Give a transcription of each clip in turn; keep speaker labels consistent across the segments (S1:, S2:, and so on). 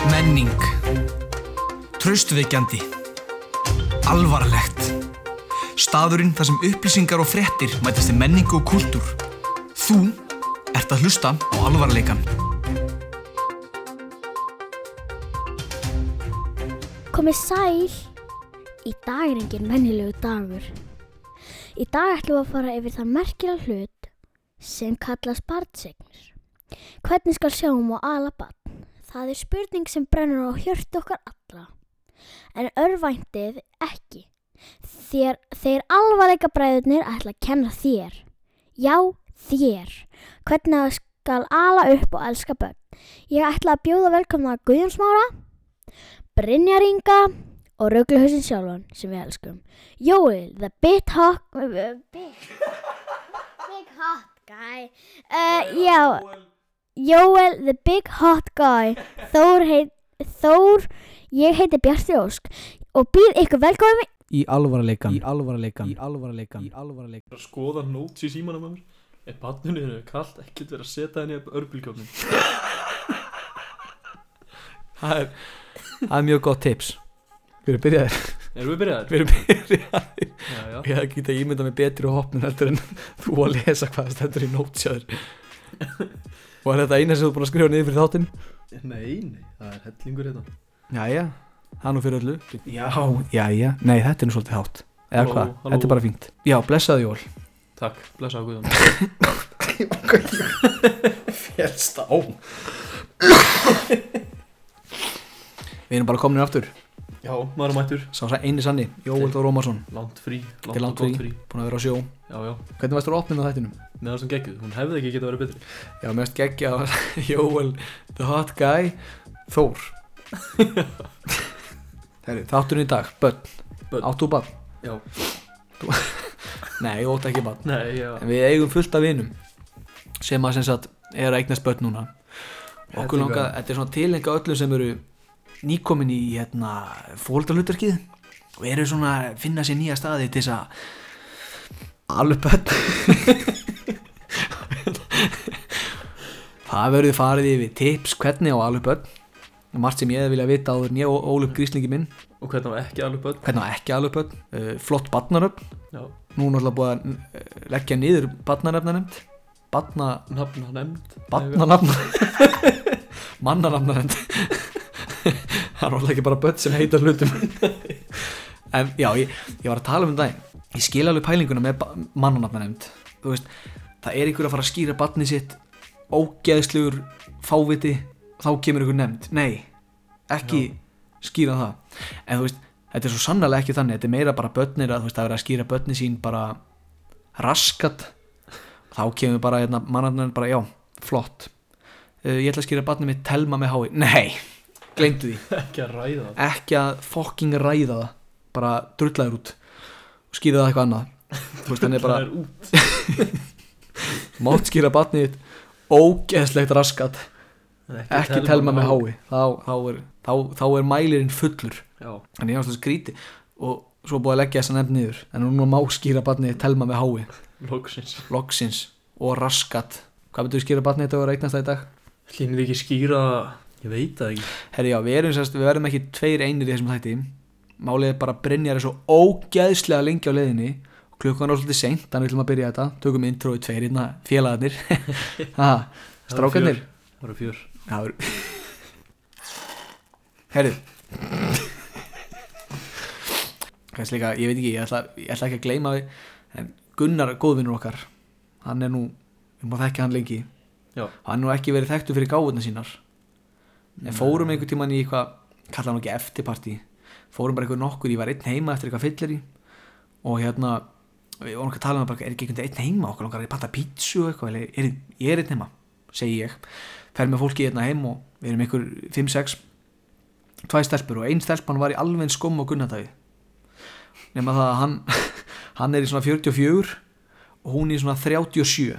S1: Spenning Traustvekjandi Alvarlegt Staðurinn þar sem upplýsingar og fréttir mætast í menningu og kultúr Þú ert að hlusta á alvarleikan
S2: Komið sæl! Í dag er engin mennilegu dagur. Í dag ætlum við að fara yfir þann merkilega hlut sem kallast barnsegnir. Hvernig skal sjáum og ala barn? Það er spurning sem brennur á hjörtu okkar allra. En örvæntið ekki. Þér, þeir alvarleika bræðurnir ætla að kenna þér. Já, þér. Hvernig það skal ala upp og elska börn. Ég ætla að bjóða velkomna Guðjónsmára, Brynjar Inga og Rögluhausin sjálfan sem við elskum. Jói, the bit hot... Uh, big, big hot guy. Uh, já, Jóel, the big hot guy. Þór, heit, Þór ég heiti Bjarti Ósk og býð ykkur velkomin.
S3: í alvarleikan í alvarleikan í alvarleikan í alvarleikan
S4: að skoða nóts í símanum að mér er barninu henni kallt ekkert verið að setja henni upp örbulgjófnin það er
S3: það er mjög gott tips við erum byrjaðir
S4: erum við byrjaðir?
S3: við erum byrjaðir
S4: já, já,
S3: ég hef geta ímyndað mig betri og hopnum heldur en þú að lesa hvað stendur í nótsjáður og er þetta eina sem þú er búin að skrifa niður fyrir þáttinn
S4: nei, nei, það er hellingur hérna
S3: jæja það er nú fyrir öllu já jæja nei þetta er nú svolítið hátt eða
S4: Halló,
S3: hvað
S4: halló.
S3: þetta er bara fínt já blessaði jól
S4: takk, blessa á Guðjón
S3: félst á við erum bara komin aftur
S4: já, maður er mættur
S3: sá það eini sanni Jóel Þór Ómarsson
S4: langt frí,
S3: Þetta er
S4: langt
S3: langt
S4: og gott
S3: frí,
S4: frí
S3: búin að vera á sjó
S4: já, já,
S3: Hvernig varst þú á opninu á þættinum?
S4: með það sem geggjuð hún hefði ekki getað verið betri
S3: Já, mest geggja var Jóel The Hot Guy Þór Herri, þátturinn í dag, börn
S4: Börn.
S3: Áttu barn?
S4: já,
S3: Nei, ég ótt ekki barn
S4: nei, já
S3: En við eigum fullt af vinum sem að sem sagt er að eignast börn núna Og Okkur
S4: Hellingur.
S3: langa, þetta er svona tilenga öllum sem eru nýkomin í hérna, fóldralutverkið og eru svona að finna sér nýja staði til þess að alveg börn Það verður farið yfir tips hvernig á alveg börn og margt sem ég hefði vilja vita áður en ég og Óluf Gríslingi minn
S4: og hvernig var ekki alveg börn
S3: hvernig á ekki alveg börn, uh, flott barnaröfn
S4: já,
S3: nú er náttúrulega búið að eh, leggja niður barnaröfnanemt barna,
S4: nafna nefnd
S3: Barnanafna Mannanafna Það er alveg ekki bara börn sem heita hlutum En já, ég, ég var að tala um þetta Ég skil alveg pælinguna með mannanafna Þú veist, það er ykkur að fara að skýra barnið sitt Ógeðslugur fáviti Þá kemur ykkur nefnd Nei, ekki skýra það En þú veist, þetta er svo sannlega ekki þannig Þetta er meira bara börnir að þú veist, það er verið að skýra börnið sín bara raskat þá kemur bara hérna, mannarnar bara já, flott uh, ég ætla að skýra barnið mitt telma með hái nei, gleymdu því
S4: ekki að ræða það
S3: ekki að fokking ræða það bara drullaður út og skýra það eitthvað annað þú veist, þannig bara,
S4: það er út
S3: mátt skýra barnið þitt ógeðslegt raskat
S4: en
S3: ekki telma með hái þá, þá, er, þá, þá er mælirinn fullur
S4: já,
S3: en ég var svolítið skríti og svo búið að leggja þessa nefn niður en núna má skýra barnið þitt telma með hái
S4: loksins
S3: loksins og raskat hvað myndu skýra barnið þetta að reiknast það í dag?
S4: Hlýnir þið ekki skýra Ég veit það ekki
S3: Herri já, við, erum, sérst, við verðum ekki tveir einir í þessum þætti Málið er bara að Brynjar er svo ógæðslega lengi á leiðinni Klukkan er svolítið seint, þannig við ætlum að byrja þetta Tökum introið tveir hérna, félagarnir ha, Strákarnir
S4: Það voru fjör
S3: Já, við- Herri Kannski líka, ég veit ekki, ég ætla, ég ætla ekki að gleyma við En Gunnar, góðvinnur okkar Hann er nú, við má þekki hann lengi
S4: Já,
S3: hann nú ekki verið þekktu fyrir gáðuna sínar en fórum einhvern tíman í eitthvað kalla hann ekki eftirparti fórum bara eitthvað nokkur, ég var einn heima eftir eitthvað fyllir í og hérna við vorum ekki að tala um það, bara, er ekki einhvern veginn einn heima okkur langar að panta pítsu og eitthvað eller er, ég er einn heima, segi ég fer með fólki hérna heim og við erum einhver 5-6, tvæ stelpur og ein stelpan var í alveg eins skum og gunnatæði nema það að hann hann er í svona 44 og hún í svona 37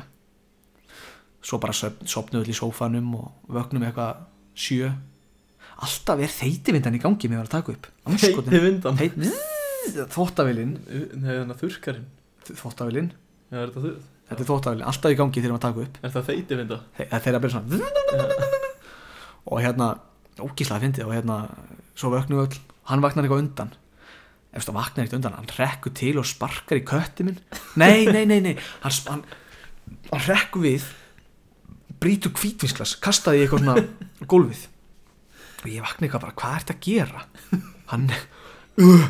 S3: svo bara söfn, sopnum öll í sófanum og vögnum eitthvað sjö alltaf er þeitivindan í gangi mér var að taka upp
S4: heiti vindan
S3: þóttavillin
S4: Nei, þannig að þurrkarinn
S3: þóttavillin,
S4: Já, er þetta þurr?
S3: þetta er þóttavillin alltaf í gangi þegar maður taka upp
S4: Er þetta þeiti vinda?
S3: Þe- þeirra byrja svona og hérna ógíslega fyndið og hérna svo vöknum við öll, hann vaknar eitthvað undan ef það vaknar eitthvað undan, hann rekkur til og sparkar í kötti minn nei, nei, nei, nei, hann, sp- hann, hann rekkur við brýtur hvítvinsglas, kastaði í eitthvað svona á gólfið og ég vakna eitthvað bara, hvað ertu að gera hann, uh,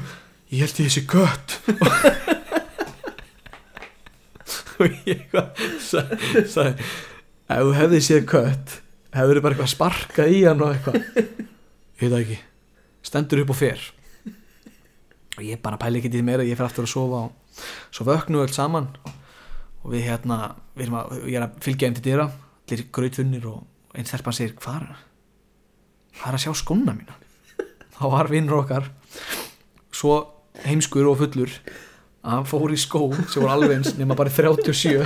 S3: ég held ég þessi kött og ég eitthvað sagði, sagði ef þú hefði séð kött hefur þið bara eitthvað sparkað í hann og eitthvað ég veit það ekki stendur upp og fer og ég bara pæli ekki til meira ég fer aftur að sofa og svo vöknum við öll saman og við hérna við erum að, ég er að fylgja þeim til dyra allir grautunnir og einn stelpan segir hvað er hvað er að sjá skóna mína þá var vinnur okkar svo heimskur og fullur að hann fór í skó sem voru alveg eins nema bara í 37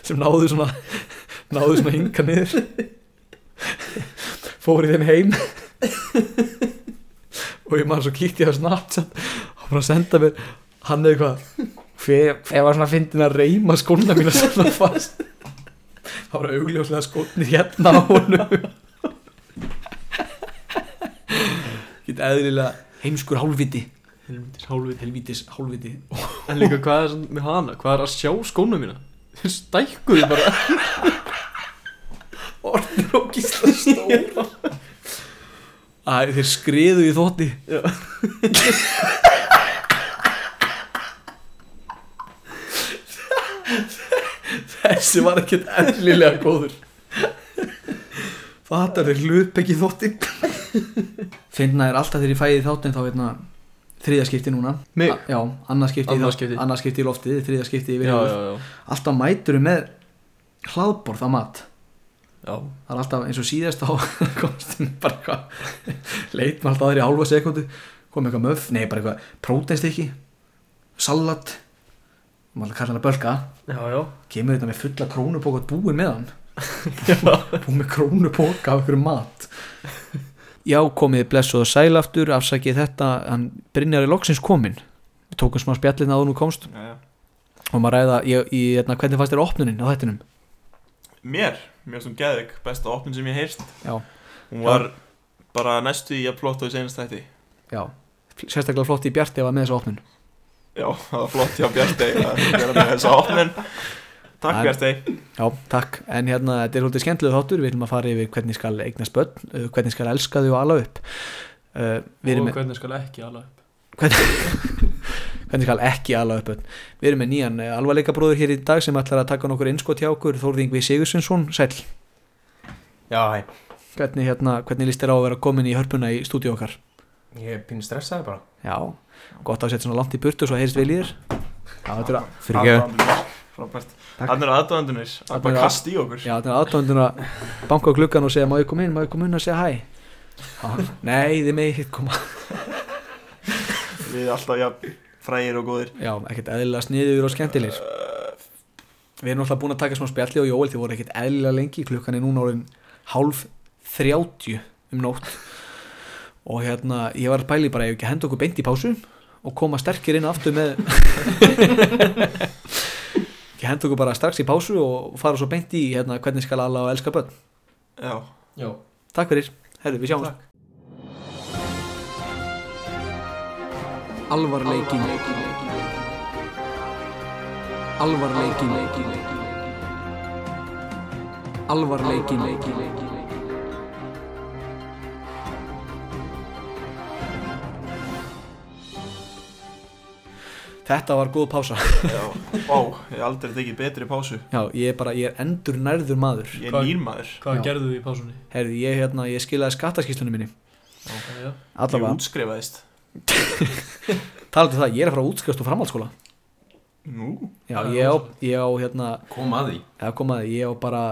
S3: sem náðu svona náðu svona hinga niður fór í þeim heim og ég maður svo kíkti á Snapchat og bara senda mér hann eða eitthvað hver, hver var svona fyndin að reyma skóna mína svona fast það var augljóslega skónir hérna á honum get eðlilega heimskur hálfviti
S4: Helvítis hálfið
S3: helvítis hálfviti
S4: En líka hvað er svona með hana? Hvað er að sjá skóna mína? Þeir stækkuðu bara
S3: orðin og gísla stóra Æ, þeir skriðu í þótti
S4: Já.
S3: Þessi var ekkert eðlilega góður Fattar þeir hlup ekki í þótti Finna er alltaf þegar ég fæði þáttin þá hérna þriðja skipti núna
S4: Mig?
S3: A- Já, annað skipti,
S4: Annað skipti.
S3: annað skipti í loftið, þriðja skipti
S4: Já,
S3: yfir
S4: já, já,
S3: Alltaf mæturum með hlaðborð að mat
S4: já.
S3: það er alltaf eins og síðast þá komstum bara eitthvað leit maður alltaf aðri hálfa sekundu kom eitthvað möf, nei bara eitthvað próteinstykki salat maður kallar hann að bölka
S4: Já, já,
S3: kemur þetta með fulla krónupóka búin með hann búin með krónupóka af einhverjum mat já komið blessuð og sæl aftur afsakið þetta, hann Brynjar er loksins komin við tókum smá spjallin að hún komst
S5: Já, já.
S3: og maður ræða í, í, hérna, hvernig fannst þér opnunin á þettinum
S5: Mér, mér sem geðvik, besta opnun sem ég heyrst
S3: já,
S5: Hún var bara næstu í að plotta í senast þætti
S3: já, sérstaklega flott í Bjarti var með þessa opnun
S5: Já, það var flott hjá Bjartey að vera með þessa opnun Takk
S3: En-
S5: Bjartey
S3: Já, takk, en hérna, þetta er svolítið skemmtilegu þáttur, við ætlum að fara yfir hvernig skal eignast börn, uh, hvernig skal elska þau og ala upp, uh, við
S4: og
S3: erum með,
S4: hvernig skal ekki alveg
S3: hvernig skal ekki ala upp börn, við erum með nýjan uh, alvarleika bróður hér í dag sem ætlar að taka nokkur innskot hjá okkur, Þórðingvi Sigursundsson, sæll,
S6: Já, hæ,
S3: hvernig hérna, hvernig líst þér á að vera komin í hörpuna í stúdíu okkar?
S6: ég er pínu stressaði bara
S3: Já, gott að setja svona langt í burtu svo heyrist vel í þér, já, þetta er að, fyrir
S5: Aðdáendurnir, Frábært
S3: Takk.
S5: Hann er aðdóðandunir, hann
S3: Þarna
S5: bara
S3: eru-
S5: kasti í okkur
S3: Já, þetta er aðdóndun að banka á gluggan og segja má ég koma inn, má ég koma inn og segja hæ Já, Nei, þið megið hitt koma
S5: Við erum alltaf jafn frægir og góðir
S3: Já, ekkert eðlilega sniður og skemmtilegir Við erum alltaf búin að taka smá spjalli og Jóel þið voru ekkert eðlilega lengi klukkan er núna orðin hálf 30 um nótt og hérna, ég var að pæli bara ef ekki að henda okkur beint í pásu og koma sterkir inn aftur með ég henda okkur bara strax í pásu og fara svo beint í hérna, hvernig skal alla og elska börn
S5: Já,
S4: Já
S3: Takk fyrir, herru, við sjáum Alvarleikin Alvarleikin Alvarleikin Þetta var góð pása
S5: já, vá, ég hef aldrei tekið betri pásu
S3: Já, ég er bara, ég er endur nærður maður
S5: Ég er
S4: Hvað-
S5: nýrmaður
S4: Hvað
S3: Já.
S4: gerðu þið í pásunni?
S3: Herði, ég, hérna, ég skilaði skattaskýslunum minni
S4: Já, já.
S5: Ég
S3: Allavega,
S5: útskrifaðist
S3: talaðu um það, ég er að fara að útskjást og framhaldsskóla
S5: Nú,
S3: Já,
S4: Það er
S3: ég á,
S4: rosalegt.
S3: ég á hérna
S6: Kom að því
S3: eða komaði, ég á bara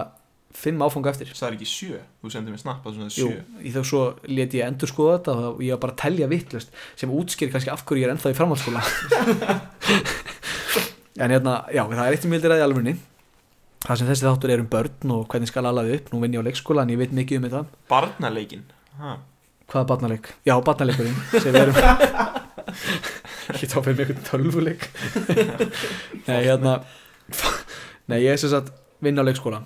S3: fimm áfanga eftir
S5: það er ekki sjö Þú sendir mér snappað svona
S3: Jú,
S5: sjö
S3: í þau svo let ég endur skoða þetta og þá- ég var bara að telja vittlust sem útskýr kannski af hverju ég er ennþá í framhaldsskóla en hérna, já, það er eitt sem vildir að í alvörni það sem þessi þáttur er um börn og hvernig skal alaði upp, nú vinn ég á leikskóla en ég veit mikið um þetta
S5: Barnaleikin ha.
S3: Hvaða barnaleik? Já, barnaleikurinn sem við erum Ég tók fyrir mig einhvern tölvuleik Nei, hérna Nei, ég er sem sagt vinn á leikskóla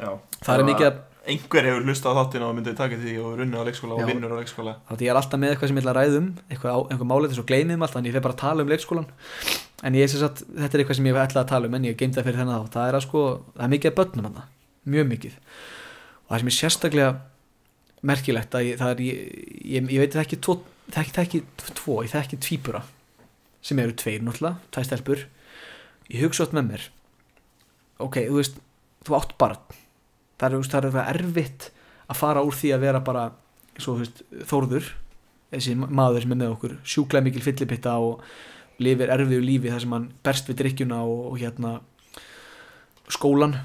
S5: Já,
S3: Það er
S5: var-
S3: mikið að
S5: einhver hefur hlustað á þáttina og myndið taka því og runnið á
S3: Já.
S5: leikskóla og vinnur á leikskóla
S3: Þannig að ég er alltaf með eitthvað sem ég ætla að ræða um eitthvað, á- eitthvað málið þess og gleymið um allt þannig að ég fer bara að tala um leikskólan en ég sem sagt, þetta er eitthvað sem ég ætla að tala um en ég geimta fyrir þennan þá, það er að sko það er mikið að börnum hann, mjög mikið og það sem er sérstaklega merkilegt að ég, það er ég, ég, ég veit það ekki tvo, þekki, þekki tvo, ég þekki tvíbura sem eru tveir náttúrulega, tvær stelpur ég hugsa átt með mér ok, þú veist, þú átt barn það er, þú veist, það er eitthvað erfitt að fara úr því að vera bara svo, þú veist, Þórður þessi maður sem er með okkur sjúklega mikil fyllipitta og lifir erfiðu lífi þar sem hann berst við drikkjuna og, og hérna skólan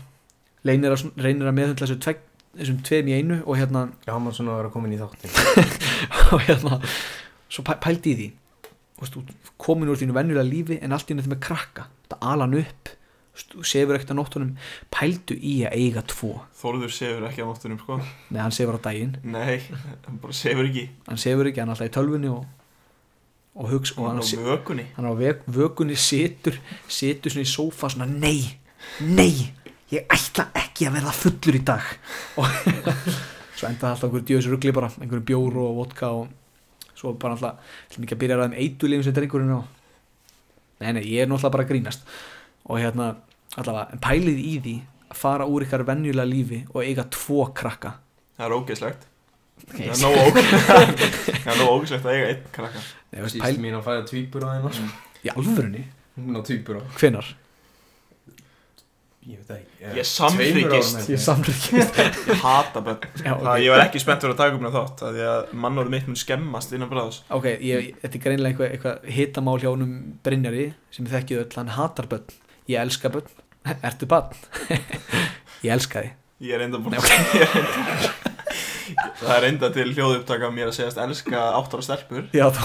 S3: reynir að, reynir að meðhundla þessu tveg, þessum tveim í einu og hérna
S6: Já, hann var svona að vera komin í þáttin
S3: og hérna svo pæ- pældi í því Þú veist, þú komin úr þínu venjulega lífi en allt í þetta með krakka þetta alan upp þú veist, þú sefur ekkert á nóttunum pældu í að eiga tvo
S5: Þorður sefur ekki á nóttunum sko
S3: nei, hann sefur á daginn,
S5: nei, hann bara sefur ekki
S3: hann sefur ekki hann er alltaf í tölvunni og, og hugs og
S5: hann
S3: hann,
S5: er
S3: se-
S5: á vökunni
S3: hann er á vek, vökunni situr situr svona í sófa svona nei, nei ég ætla ekki að verða fullur í dag og svo endaði alltaf einhverju djöðs ruggli bara, einhverju bjór og vodka og svo bara alltaf sem ekki að byrja að ræða um eitulífum sem drengurinn á nei, nei, ég er náttúrulega bara að grínast og hérna, allavega, en pælið í því að fara úr ykkar venjulega lífi og eiga tvo krakka
S5: það er ógeðslegt það
S3: Nei,
S5: er nógu ógeðslegt það er nógu ógeðslegt að eiga einn krakka
S3: þú veist,
S6: Sýst
S3: pæl,
S6: mín að fæða tvíbur á þeim mm.
S3: í alvörunni,
S6: Hún á tvíbur á
S3: hvenar?
S6: Ég veit það ekki
S5: Ég samþykkist.
S3: Ég samrýkja
S5: ég hata börn það, ég var ekki spennt fyrir að taka upp með þátt af því að mannur mitt mun skemmast innan bráðs
S3: Ok, ég, þetta er greinilega eitthvað, eitthvað hitamál hjá honum Brynjari sem ég þekkið öll, hann hatar börn ég elska börn, ertu barn ég elska þið
S5: ég er enda búin
S3: Nei,
S5: það er enda til hljóðupptaka af mér að segjast elska áttar og stelpur
S3: Já, þá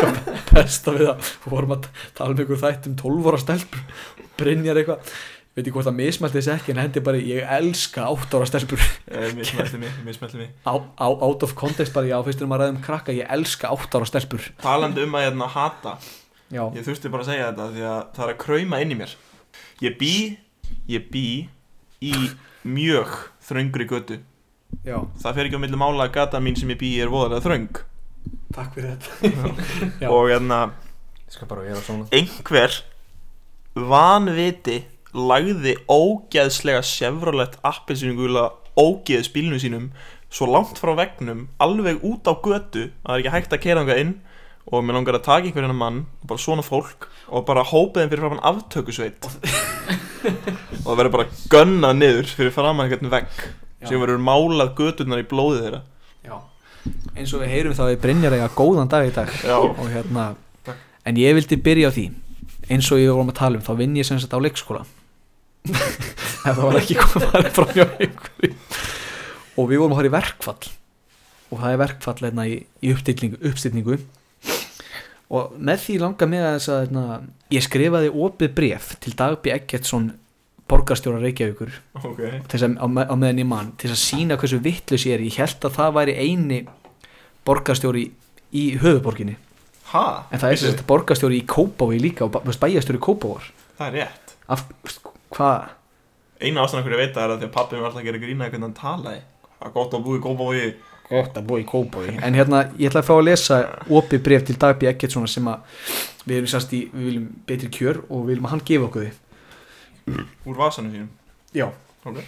S3: besta við að við vorum að tala um ykkur þætt um 12 ára stelpur Brynjar eitthvað, ég veit ekki hvort það mismælti þess ekki en hendi bara, ég elska 8 ára stelpur
S5: Eh, mismælti mig, mismælti mig
S3: á, á, out of context bara, já, fyrst erum að ræða um krakka ég elska 8 ára stelpur
S5: talandi um að hérna hata
S3: Já,
S5: Ég þurfti bara að segja þetta því að það er að krauma inn í mér Ég bý, ég bý í mjög þröngri götu
S3: já,
S5: Það fer ekki á milli mála að gata mín sem ég bý í er voðalega þröng
S3: takk fyrir þetta Já.
S5: Og hérna
S6: Ég skal bara vera svona
S5: einhver vanviti lagði ógeðslega sefralett appelsýningula ógeðs bílnum sínum svo langt frá vegnum, alveg út á götu að það er ekki hægt að keira þangað inn og mér langar að taka einhverjana mann og bara svona fólk og bara hópa þeim fyrir framann aftökusveit og það verður bara gönnað niður fyrir framann einhvern vegg
S3: Já.
S5: sem verður málað göturnar í blóði þeirra
S3: já Eins og við heyrum þá við Brynjar eiga góðan dag í dag
S5: Já,
S3: og hérna
S5: Takk.
S3: en ég vildi byrja á því eins og ég vorum að tala um, þá vinn ég sem sagt á leikskóla ef það var ekki komið að fara fram hjá einhverju og við vorum að fara í verkfall og það er verkfall hérna í, í uppstillingu, uppstillingu og með því langa með þess að hérna, ég skrifaði opið bref til Dagby Eggertsson borgarstjóra Reykjavíkur
S5: ok
S3: til þess að, á, me- á meðan ég mann til þess að sína hversu vittlus ég er ég held að það væri eini borgarstjóri í höfuborginni
S5: Ha?
S3: En það er sem sagt borgarstjóri í Kópavogi líka og ba- þú veist, bæjarstjóri í Kópavogar
S5: Það er rétt
S3: Af, sko, þú veist, hvað?
S5: Einu ástæðan okkur ég veit það er að því að pappi var alltaf að gera grína hvernig hann talaði. Það er gott að búi í Kópavogi.
S3: Gott að búa í Kópavogi En hérna, ég ætla að fá að lesa opið bref til Dagby Eggertssonar sem að við erum sérst í, við viljum betri kjör og við viljum að hann gefa okkur þið
S5: Úr vasanum sínum.
S3: Já
S5: Ok.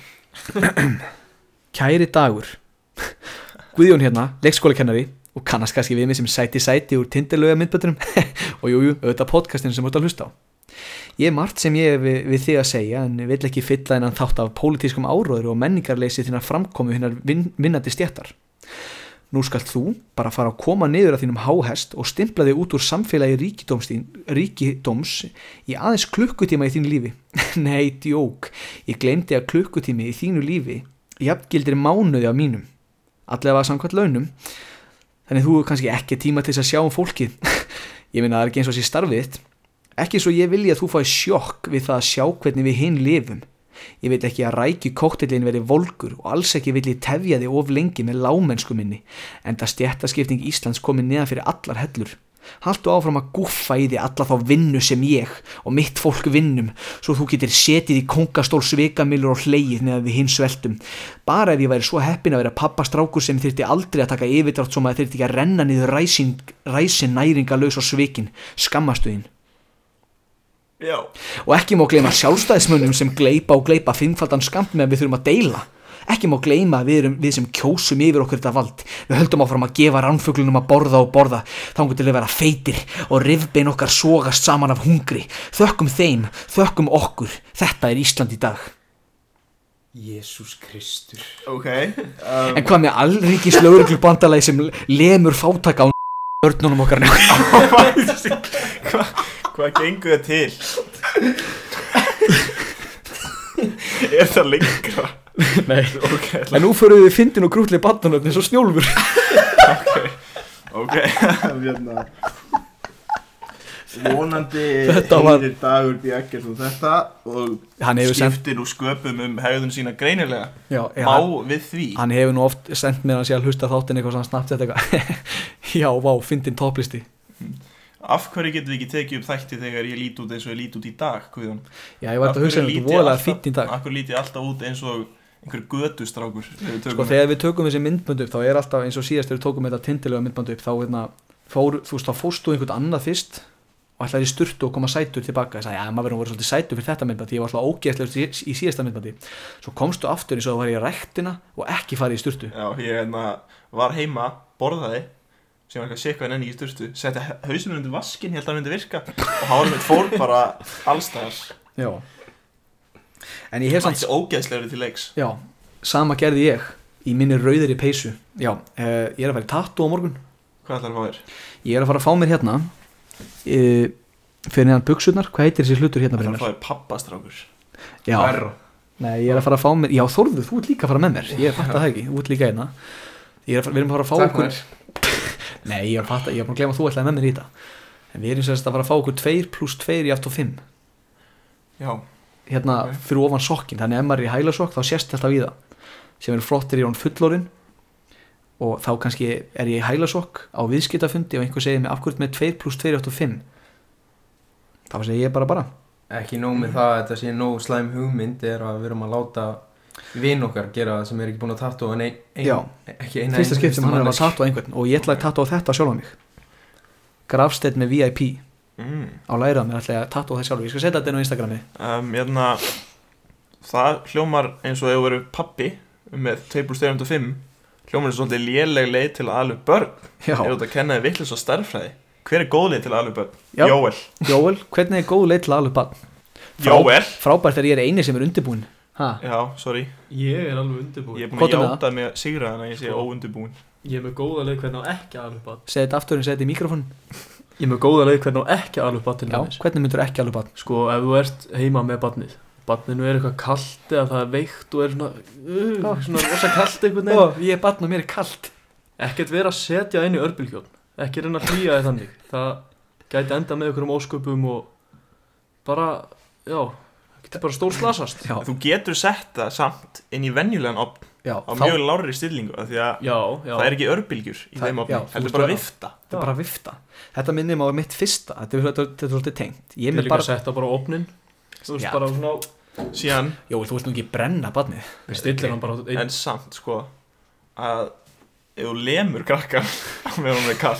S3: Kæri dagur Guðjón hérna, leikskólakennari og kannast kannski við mig sem sæti sæti úr tindirlauga myndböndunum og jújú, jú, auðvitað podcastinu sem þú ert að hlusta á Ég er margt sem ég er við, við þig að segja en vill ekki fylla hennan þátt af pólitískum áróður og menningarleysi þinnar framkomu hinnar vin, vinnandi stjættar. Nú skalt þú bara fara að koma niður að þínum háhest og stimpla þig út úr samfélagi ríkidóms, þín, ríkidóms í aðeins klukkutíma í þínu lífi. Nei, djók, ég glemdi að klukkutími í þínu lífi jafngildir mánuði af mínum, allavega samkvæmt launum. Þannig þú hefur kannski ekki tíma til þess að sjá um fólkið. ég minna það er ekki eins og sé starfið þitt. Ekki svo ég vilja að þú fái sjokk við það að sjá hvernig við hinn lifum. Ég vil ekki að rækju kóktellin verði volgur og alls ekki vil ég tefja þig of lengi með lámennsku minni, en það stjættaskipting Íslands komið neðan fyrir allar hellur. Haltu áfram að guffa í því alla þá vinnu sem ég og mitt fólk vinnum svo þú getur setið í kongastól svikamilur og hleið meðan við hinn sveltum. Bara ef ég væri svo heppin að vera pappastrákur sem þyrfti aldrei að taka yfirdrátt svo maður þyrfti ekki að renna niður ræsin, ræsin næringalaus og svikin, skammastuðin.
S5: Já
S3: Og ekki má gleyma sjálfstæðismönnum sem gleipa og gleipa fimmfaldan skamt meðan við þurfum að deila. Ekki má gleyma að við, erum, við sem kjósum yfir okkur þetta vald. Við höldum áfram að gefa ránfuglunum að borða og borða, þangur til að vera feitir og rifbein okkar sogast saman af hungri. Þökkum þeim, þökkum okkur. Þetta er Ísland í dag.
S6: Jésús Kristur
S5: Ok um,
S3: En hvað með allrikis lögurglur bandalagi sem lemur fátaka á börnunum okkar nefn?
S5: Hva, Hvað gengur það til? er það lengra?
S4: Nei.
S5: Ok,
S3: En nú fyrir við fyndin og grútlega bandanöfni svo snjólfur.
S5: ok
S7: hérna vonandi
S3: Þetta var-
S7: heyrir dagur bjökkert og þetta og
S3: Hann hefur sendt,
S5: Skiptir úr sköpum um hegðun sína greinilega
S3: já, já,
S5: Má við því
S3: Hann hefur nú oft sendt mér að sé að hlusta þáttinn eitthvað svona snabbt eitthvað. Já, vá, fyndin topplisti.
S5: Af hverju getum við ekki tekið upp þætti þegar ég lít út eins og ég lít út í dag, Guðjón?
S3: Já, ég var þetta að hugsa um þetta voðalega fýtt í dag.
S5: Akkur lít ég alltaf út eins og einhver gödustrákur
S3: Sko, þegar við tökum þessi myndbönd upp, þá er alltaf eins og síðast þegar við tókum þetta tindilega myndbönd upp, þá, hérna, fór, þú veist, þá fórstu einhvern annað fyrst og ætlaði í sturtu og koma sætur tilbaka. Ég sagði, já, maður verður að vera svolítið sætur fyrir þetta myndbandi, ég var alltaf ógeðslegur í síðasta myndbandi. Svo komstu aftur eins og þú var í ræktina og ekki farið í sturtu.
S5: Já, ég hérna, var heima, borðaði sem var eitthvað sikvað en enn í sturtu setti hausinu undir vaskin, held að það myndi virka og hárið mitt fór bara allstæðar
S3: Já. En ég hef samt
S5: Mætti ógeðslegri til leiks
S3: Já, sama gerði ég í minni rauðir í peysu Já, eh, ég er að fara í tattu á morgun
S5: Hvað ætlar að fá þér?
S3: Ég er að fara að fá mér hérna uh, fyrir neðan buksurnar, hvað heitir þessi hlutur hérna
S5: Það
S3: fyrir
S5: að fá
S3: mér?
S5: þér pappastrákur
S3: Já, nei, ég er að fara að fá mér Já, Þórður, þú ert líka að fara með mér Ég fatt að það ekki, þú ert líka hérna Ég er að fara, við erum að fara að fá
S6: Takk
S3: okkur
S6: maður
S3: Nei, ég er að fatta, ég er búin að glemma að þú ætlaði með mér í þetta En við erum sérst að fara að fá okkur 2 pluss 2 í 8 og 5
S5: Já,
S3: hérna
S5: Ok.
S3: fyrir ofan sokkin þannig ef maður er í hælasokk þá sést þetta við það sem er flottir í hún fullorinn og þá kannski er ég í hælasokk á viðskiptafundi og einhver segir mig af hverju ertu með 2 pluss 2 8 og 5 þá segir ég bara bara
S6: Ekki nóg með það að þetta sé nóg slæm hugmynd er að við erum að láta vinn okkar gera það sem er ekki búin að tattu en ein, ein,
S3: Já.
S6: ekki eina
S3: fyrsta skipt sem hann er að
S6: manneskju.
S3: tattu á einhvern og ég ætla að tattu á þetta sjálf á mig grafstætt með VIP
S5: mm.
S3: á lærað mér ætla ég að tattu á það sjálf ég skal setja þetta inn á Instagrami
S5: um, hérna, Það hljómar eins og ef þú verður pappi með 2 plus 2.5 hljómar er svolítið léleg leið til að alveg börn
S3: Já.
S5: Ef þú ert að kenna þér vitlis á starffræði Hver er góð leið til að alveg börn?
S3: Já.
S5: Jóel
S3: Jóel, hvernig er góð leið til aðalup bann?
S5: Jóel
S3: Frábært er ég er eini sem er undirbúin ha,
S5: Já, sorry
S4: Ég er alveg
S5: Ég
S4: undirbúin
S5: er búin
S3: Hvað er
S5: að
S3: með
S5: játa mig að sigra þannig að ég sé
S4: Sko.
S5: óundubúin
S4: Ég er með góða leið hvernig á ekki að alveg bat
S3: segði þetta aftur en segði þetta í mikrofon
S4: Ég er með góða leið hvernig á ekki að alveg bat til
S3: Já,
S4: dæmis
S3: hvernig myndur ekki aðalup bann?
S4: Sko, ef þú ert heima með batnið Batninu er eitthvað kalt eða það er veikt og er svona uh,
S3: Já.
S4: Svona rosa kalt einhvern veginn
S3: Ég er bann og mér er kalt
S4: Ekkert vera að setja inn í örbylgjón Ekki reyna að hlýja þið þannig Það gæti enda með einhverjum ósköpum og bara, já Getur bara stór slasast
S3: Já,
S5: Þú getur sett það samt inn í venjulegan opn
S3: já,
S5: á
S3: þá,
S5: mjög lárri stillingu af því að
S4: Já, já
S5: það er ekki örbylgjur í
S3: Það-
S5: þeim
S3: já,
S5: opnum
S3: þú veist
S5: heldur bara
S3: það.
S5: vifta
S3: þetta er bara að vifta Þetta minnir maður mitt fyrsta Þetta er þetta er- þetta er svolítið tengt Ég er
S4: Ég
S3: með
S4: vil líka
S3: bara
S4: að setja bara á opnin Þú veist
S3: Já.
S4: bara svona
S5: síðan
S3: Jó, þú vilt nú ekki brenna barnið
S4: Stillir hann bara á einn
S5: en samt sko að ef þú lemur krakkar með hún er kall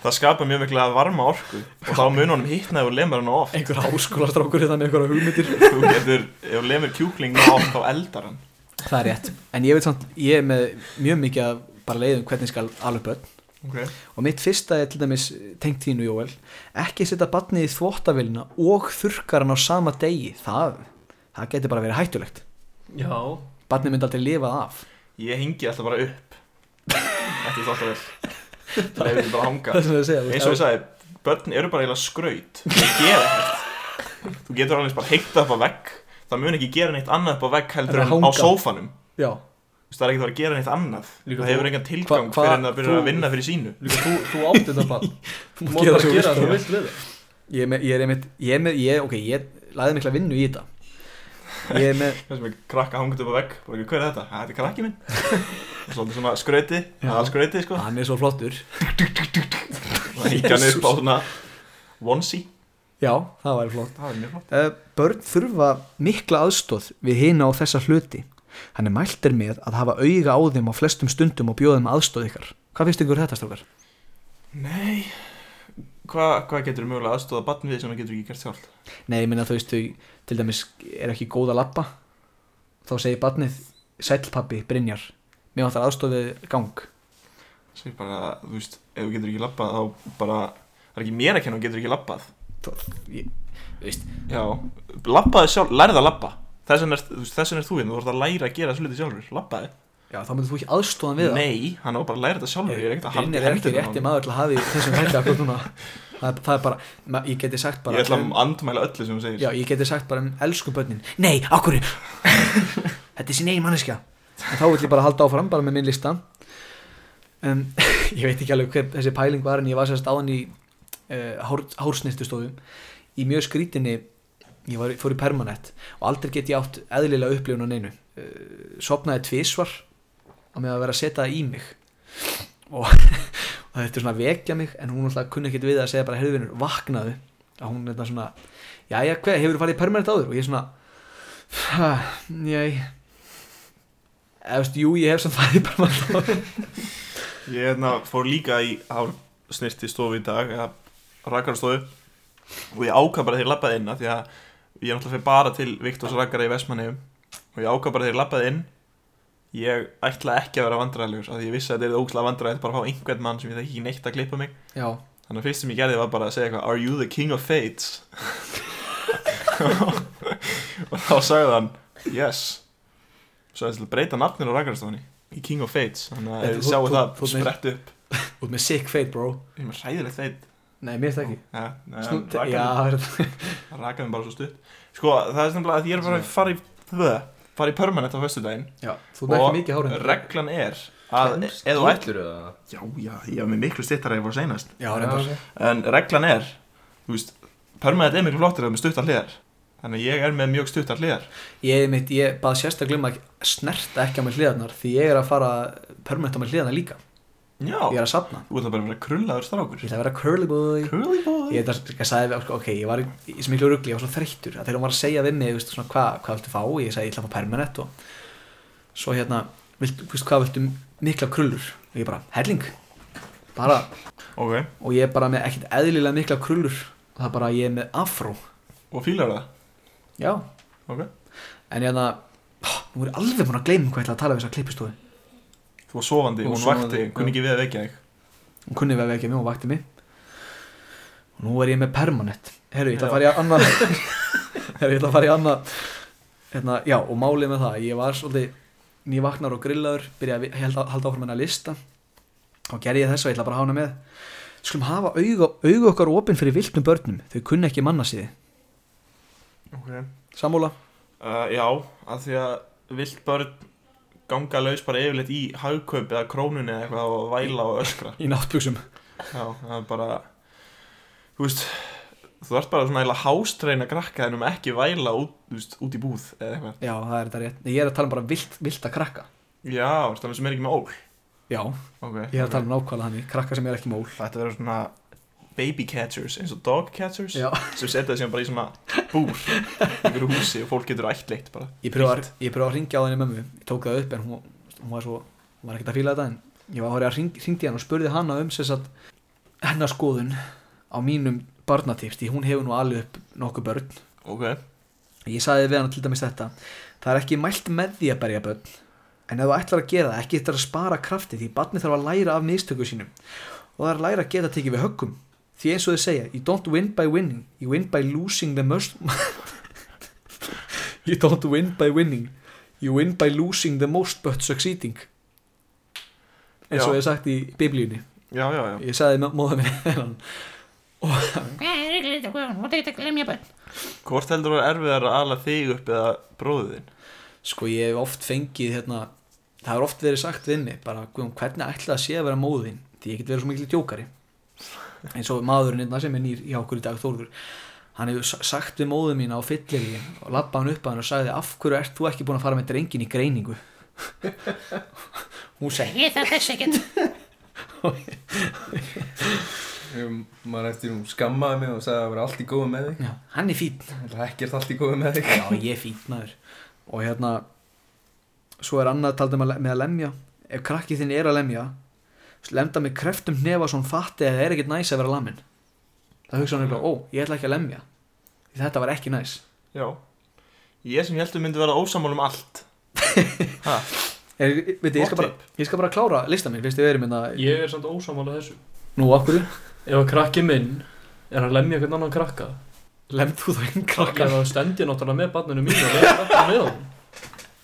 S5: það skapar mjög mikla varma orku og þá mun honum hittna ef þú lemur hann of
S3: Einhver háskólastrákur hérna með einhverja hugmyndir
S5: þú getur, ef þú lemur kjúkling ná of þá eldar hann
S3: Það er rétt En ég veit samt, ég er með mjög mikið að bara leiðum hvernig skal alveg börn
S5: okay.
S3: Og mitt fyrsta er til dæmis tengt þínu, Jóel Ekki setja barnið í þvóttavélina og þurrkar hann á sama degi Það, það getur bara verið hættulegt
S4: Já,
S3: Barnið myndi aldrei lifað af
S5: ég hengi alltaf bara upp þetta er þátt að vel það er bara að hanga
S3: sem þau segja þú
S5: eins og ég sagði, börn eru bara eiginlega skraut þau gera ekkert þú getur alveg eins bara heikt upp á vegg það mun ekki gera neitt annað upp á vegg heldur
S3: En að
S5: en á
S3: hanga.
S5: sófanum
S3: Já,
S5: Þú veist, það er ekkert að fara að gera neitt annað
S4: Líka
S5: það
S4: þú-
S5: hefur engan tilgang
S3: Hva- hva-
S5: fyrir en það byrjar
S4: þú-
S5: að vinna fyrir sínu
S4: líka þú, þú átt þetta bara
S3: þú
S4: Þú
S3: mátt
S4: mátt
S3: gera
S4: bara
S3: svo
S4: gera það
S3: vel.
S4: þú vilt við það
S3: Ég er með, ég er með, ég er með, ég, ok, ég laði mikla vinnu í þetta Ég er með,
S5: það sem er krakka hangut upp á vegg bara ekki hver er þetta, "Ah, þetta er krakki minn svolítið svona skrauti,
S3: Já.
S5: alskrauti sko
S3: hann er svo flottur
S5: Kíkja hann upp á svona onesie
S3: Já, það væri flott
S5: Það er mjög flott
S3: Eh, Börn þurfa mikla aðstóð við hina og þessa hluti. Hann er mæltir með að hafa auga á þeim á flestum stundum og bjóða þeim aðstóð ykkar. Hvað finnst ykkur þetta, strókar?
S5: Nei Hvað hva getur mögulega aðstóða batn við sem það getur ekki gert sjálf?
S3: Nei, ég minna þú veist, þau til dæmis er ekki góð að lappa. Þá segir barnið, sælpappi, Brynjar, mér vantar aðstóð við gang.
S5: Segir bara, þú veist, ef þú getur ekki labbað þá bara Það er ekki mér að kenna, þú getur ekki labbað
S3: Þá- ég- Þú veist,
S5: Já, labbaði sjálf, lærið að labba Þess vegna ert- þú veist, þess vegna er þú hérna, þú ert að læra að gera sluti sjálfur Labbaði
S3: já, þá myndir þú ekki aðstóðan við það.
S5: Nei, hann á bara að læra þetta sjálfur Ég er ekkert að halda
S3: Brynjar
S5: í
S3: er ekki
S5: hendurnar á
S3: rétti
S5: honum.
S3: maður til að hafa í þessum hætti akkur núna. Það er, það er bara, ma- ég geti sagt bara
S5: Ég ætla að andmæla öllu sem þú segir
S3: Já, ég geti sagt bara um elsku börnin Nei, okkur Þetta er sín eigin manneskja En þá vill ég bara halda áfram, bara með minn lista um, Ég veit ekki alveg hver þessi pæling var En ég var sérst áðan í uh, hár, hársnistustofu Í mjög skrítinni Ég var, fór í permanent Og aldrei get ég átt eðlilega upplifun á neinu uh, Sopnaði tvisvar Á með að vera að setja það í mig Og, og þetta er svona að vekja mig En hún alltaf kunni ekkit við að segja bara Herðvinur, vaknaðu Að hún þetta svona Jæja, hvað, hefur þú farið í permanent áður? Og ég svona, "Ha, jæj, eða veist, jú, ég hef samt farið í permanent áður.
S5: Ég hérna, fór líka í hársnirti stofu í dag eða rakarastofu og ég ákvað bara þegar ég labbaði inn af því að ég náttúrulega fyrir bara til Viktors rakara í Vestmanneum og ég ákvað bara þegar ég labbaði inn ég ætla ekki að vera vandræðilegur af því ég vissi að þetta er ógslag vandræðilegt bara að fá einhvern mann sem ég þekki ekki neitt að klippa mig
S3: Já,
S5: þannig að fyrst sem ég gerði var bara að segja eitthvað Are you the king of fates? og þá sagði hann Yes Svo það til að breyta nafninu á rakarastofunni í King of Fates þannig að
S3: Þetta-
S5: ef þið
S3: þú-
S5: sjáu
S3: þú-
S5: það
S3: þú- þú-
S5: sprett upp
S3: út með sick fate, bro.
S5: Ég er með hræðilegt feit
S3: Nei, mér finnst það ekki.
S5: ja,
S3: Snú,
S5: Snúnt,
S3: já,
S5: rakaði,
S3: það er þetta.
S5: rakaði mig bara svo stutt Sko, það er snemlega að ég er bara að fara í það, fara í permanent á föstudaginn
S3: Já, þú er ekki mikið hárið.
S5: reglan er að ef þú ætl
S6: ætlur það?
S5: Já, já, ég er með miklu stittar að ég var seinast
S3: Já, reyndar.
S5: En reglan er, þú veist, permanent er miklu flottir eða með stuttar hliðar Þannig að ég er með mjög stuttar hliðar
S3: Ég, mitt, ég bað sérstaklega um að snerta ekki á mér hliðarnar því ég er að fara permanent á mér hliðarnar líka.
S5: Já,
S3: Ég er að safna.
S5: þú ætla bara að vera krullaður
S3: Ég
S5: strákur
S3: ætla að vera curly boy.
S5: Curly boy
S3: Ég þetta sko, sagði við, sko, ok, ég var í, í sem miklu rugli, ég var svo þreyttur að þegar hún var að segja við mig, veist, svona, hva, hvað viltu fá, ég sagði, ég ætla að fá permanent og svo hérna, vilt, veist, hvað viltu mikla krullur og ég bara, helling bara,
S5: Ok,
S3: og ég er bara með ekkert eðlilega mikla krullur og það er bara, ég er með afró
S5: og fílar það?
S3: já,
S5: Ok
S3: en hérna ó, nú er ég alveg búin að gleyma um hvað ég ætla að tala við þessa klippistofu
S5: Þú var sofandi,
S6: Þú
S5: hún
S6: var
S5: vakti,
S6: sofandi,
S5: kunni ekki við að vekja þig
S3: hún kunni við að vekja mig og vakti mig og nú er ég með permanent herru, ég ætla að fara í annað herru, ég ætla að fara í annað hérna, já, og málið með það, ég var svolítið nývaknar og grillaður, byrjaði að halda, halda áfram hennar lista og gerði ég þess og ég ætla bara að hána með skulum hafa auga, auga okkar opinn fyrir viltum börnum, þau kunni ekki manna síði
S5: Ok
S3: sammála,
S5: Uh, já, af því að vilt börn ganga laus bara yfirleitt í hagkaup eða krónunni eða eitthvað og væla og öskra.
S3: í náttbjöksum
S5: Já, það er bara, þú veist, þú ert bara svona eiginlega hástreina krakka en um ekki væla út, þú veist, út í búð eða eitthvað.
S3: já, það er þetta rétt, Nei, ég er að tala um bara vilt, vilt að krakka
S5: Já, ertu alveg sem er ekki með ól.
S3: já,
S5: Ok.
S3: ég er að tala um nákvæmlega þannig krakka sem er ekki mól
S5: Þetta verður svona baby catchers eins og dog catchers
S3: já.
S5: sem setja þessi bara í svona búr í einhverju húsi og fólk getur ættleitt bara.
S3: Ég pröfaði að, ég pröfaði að ringja á henni mömmu Ég tók það upp en hún, hún var svo Hún var ekkert að fíla þetta en Ég var að horfa að ring, ringdi hann og spurði hana um sess að Hennar skoðun á mínum barnatips Því hún hefur nú alveg upp nokkuð börn
S5: Ok.
S3: Ég sagði við hann til dæmis þetta Það er ekki mælt með því að berja börn En ef þú ætlar að gera það, ekki þetta að spara krafti Því barni þarf að læra af mistöku sínum Og það er að læra að geta tekið við höggum Því eins og þau segja, you don't win by winning You win by losing the most You don't win by winning You win by losing the most but succeeding eins og
S5: Já.
S3: ég hef sagt í biblíunni
S5: Já, já, já.
S3: Ég sagði móða minni þennan
S8: Hvað er ekki þetta? Hvað er þetta? Glemja bara.
S5: Hvort heldur þú er erfiðar að ala þig upp eða bróðið þinn?
S3: Sko ég hef oft fengið hérna, það hefur oft verið sagt við mig bara Guðjón hvernig ætla það sé að vera móðin því ég get verið svo mikil djókari eins og maðurinn einna sem er nýr í okkur í dag Þórður hann hefur sa- sagt við móðum mína á fylliríin og labba hann upp að hann og sagði af hverju ert þú ekki búin að fara með drengin í greiningu hún segi
S8: Ég þarf þess ekkert.
S6: Ég man eftir hún skammaði mig og sagði að það var allt í góðu með þig.
S3: Já, hann er fín
S6: Það er ekkert allt í góðu með þig.
S3: Já, ég er fín maður Og hérna Svo er annað taldum að, með að lemja Ef krakkið þinn er að lemja Lemda með kreftum hnefa svo hann fatti að það er ekkert næs að vera lamin Það hugsa hann eitthvað, ó, ég ætla ekki að lemja Því Þetta var ekki næs
S5: Já Ég sem heldur myndi vera ósamál um allt ha,
S3: er, veit, ég, skal
S5: Gott
S3: bara, ég skal bara klára lista minn Fyrst við erum hérna
S4: Ég er samt ósamála þessu
S3: Nú, okkur
S4: Ef að krakki minn er að lemja einhvern annan krakka
S3: Lemd þú þá einn
S4: Þá
S3: krakka
S4: er það stend ég náttúrulega með barninu mínu og lemja krakka með honum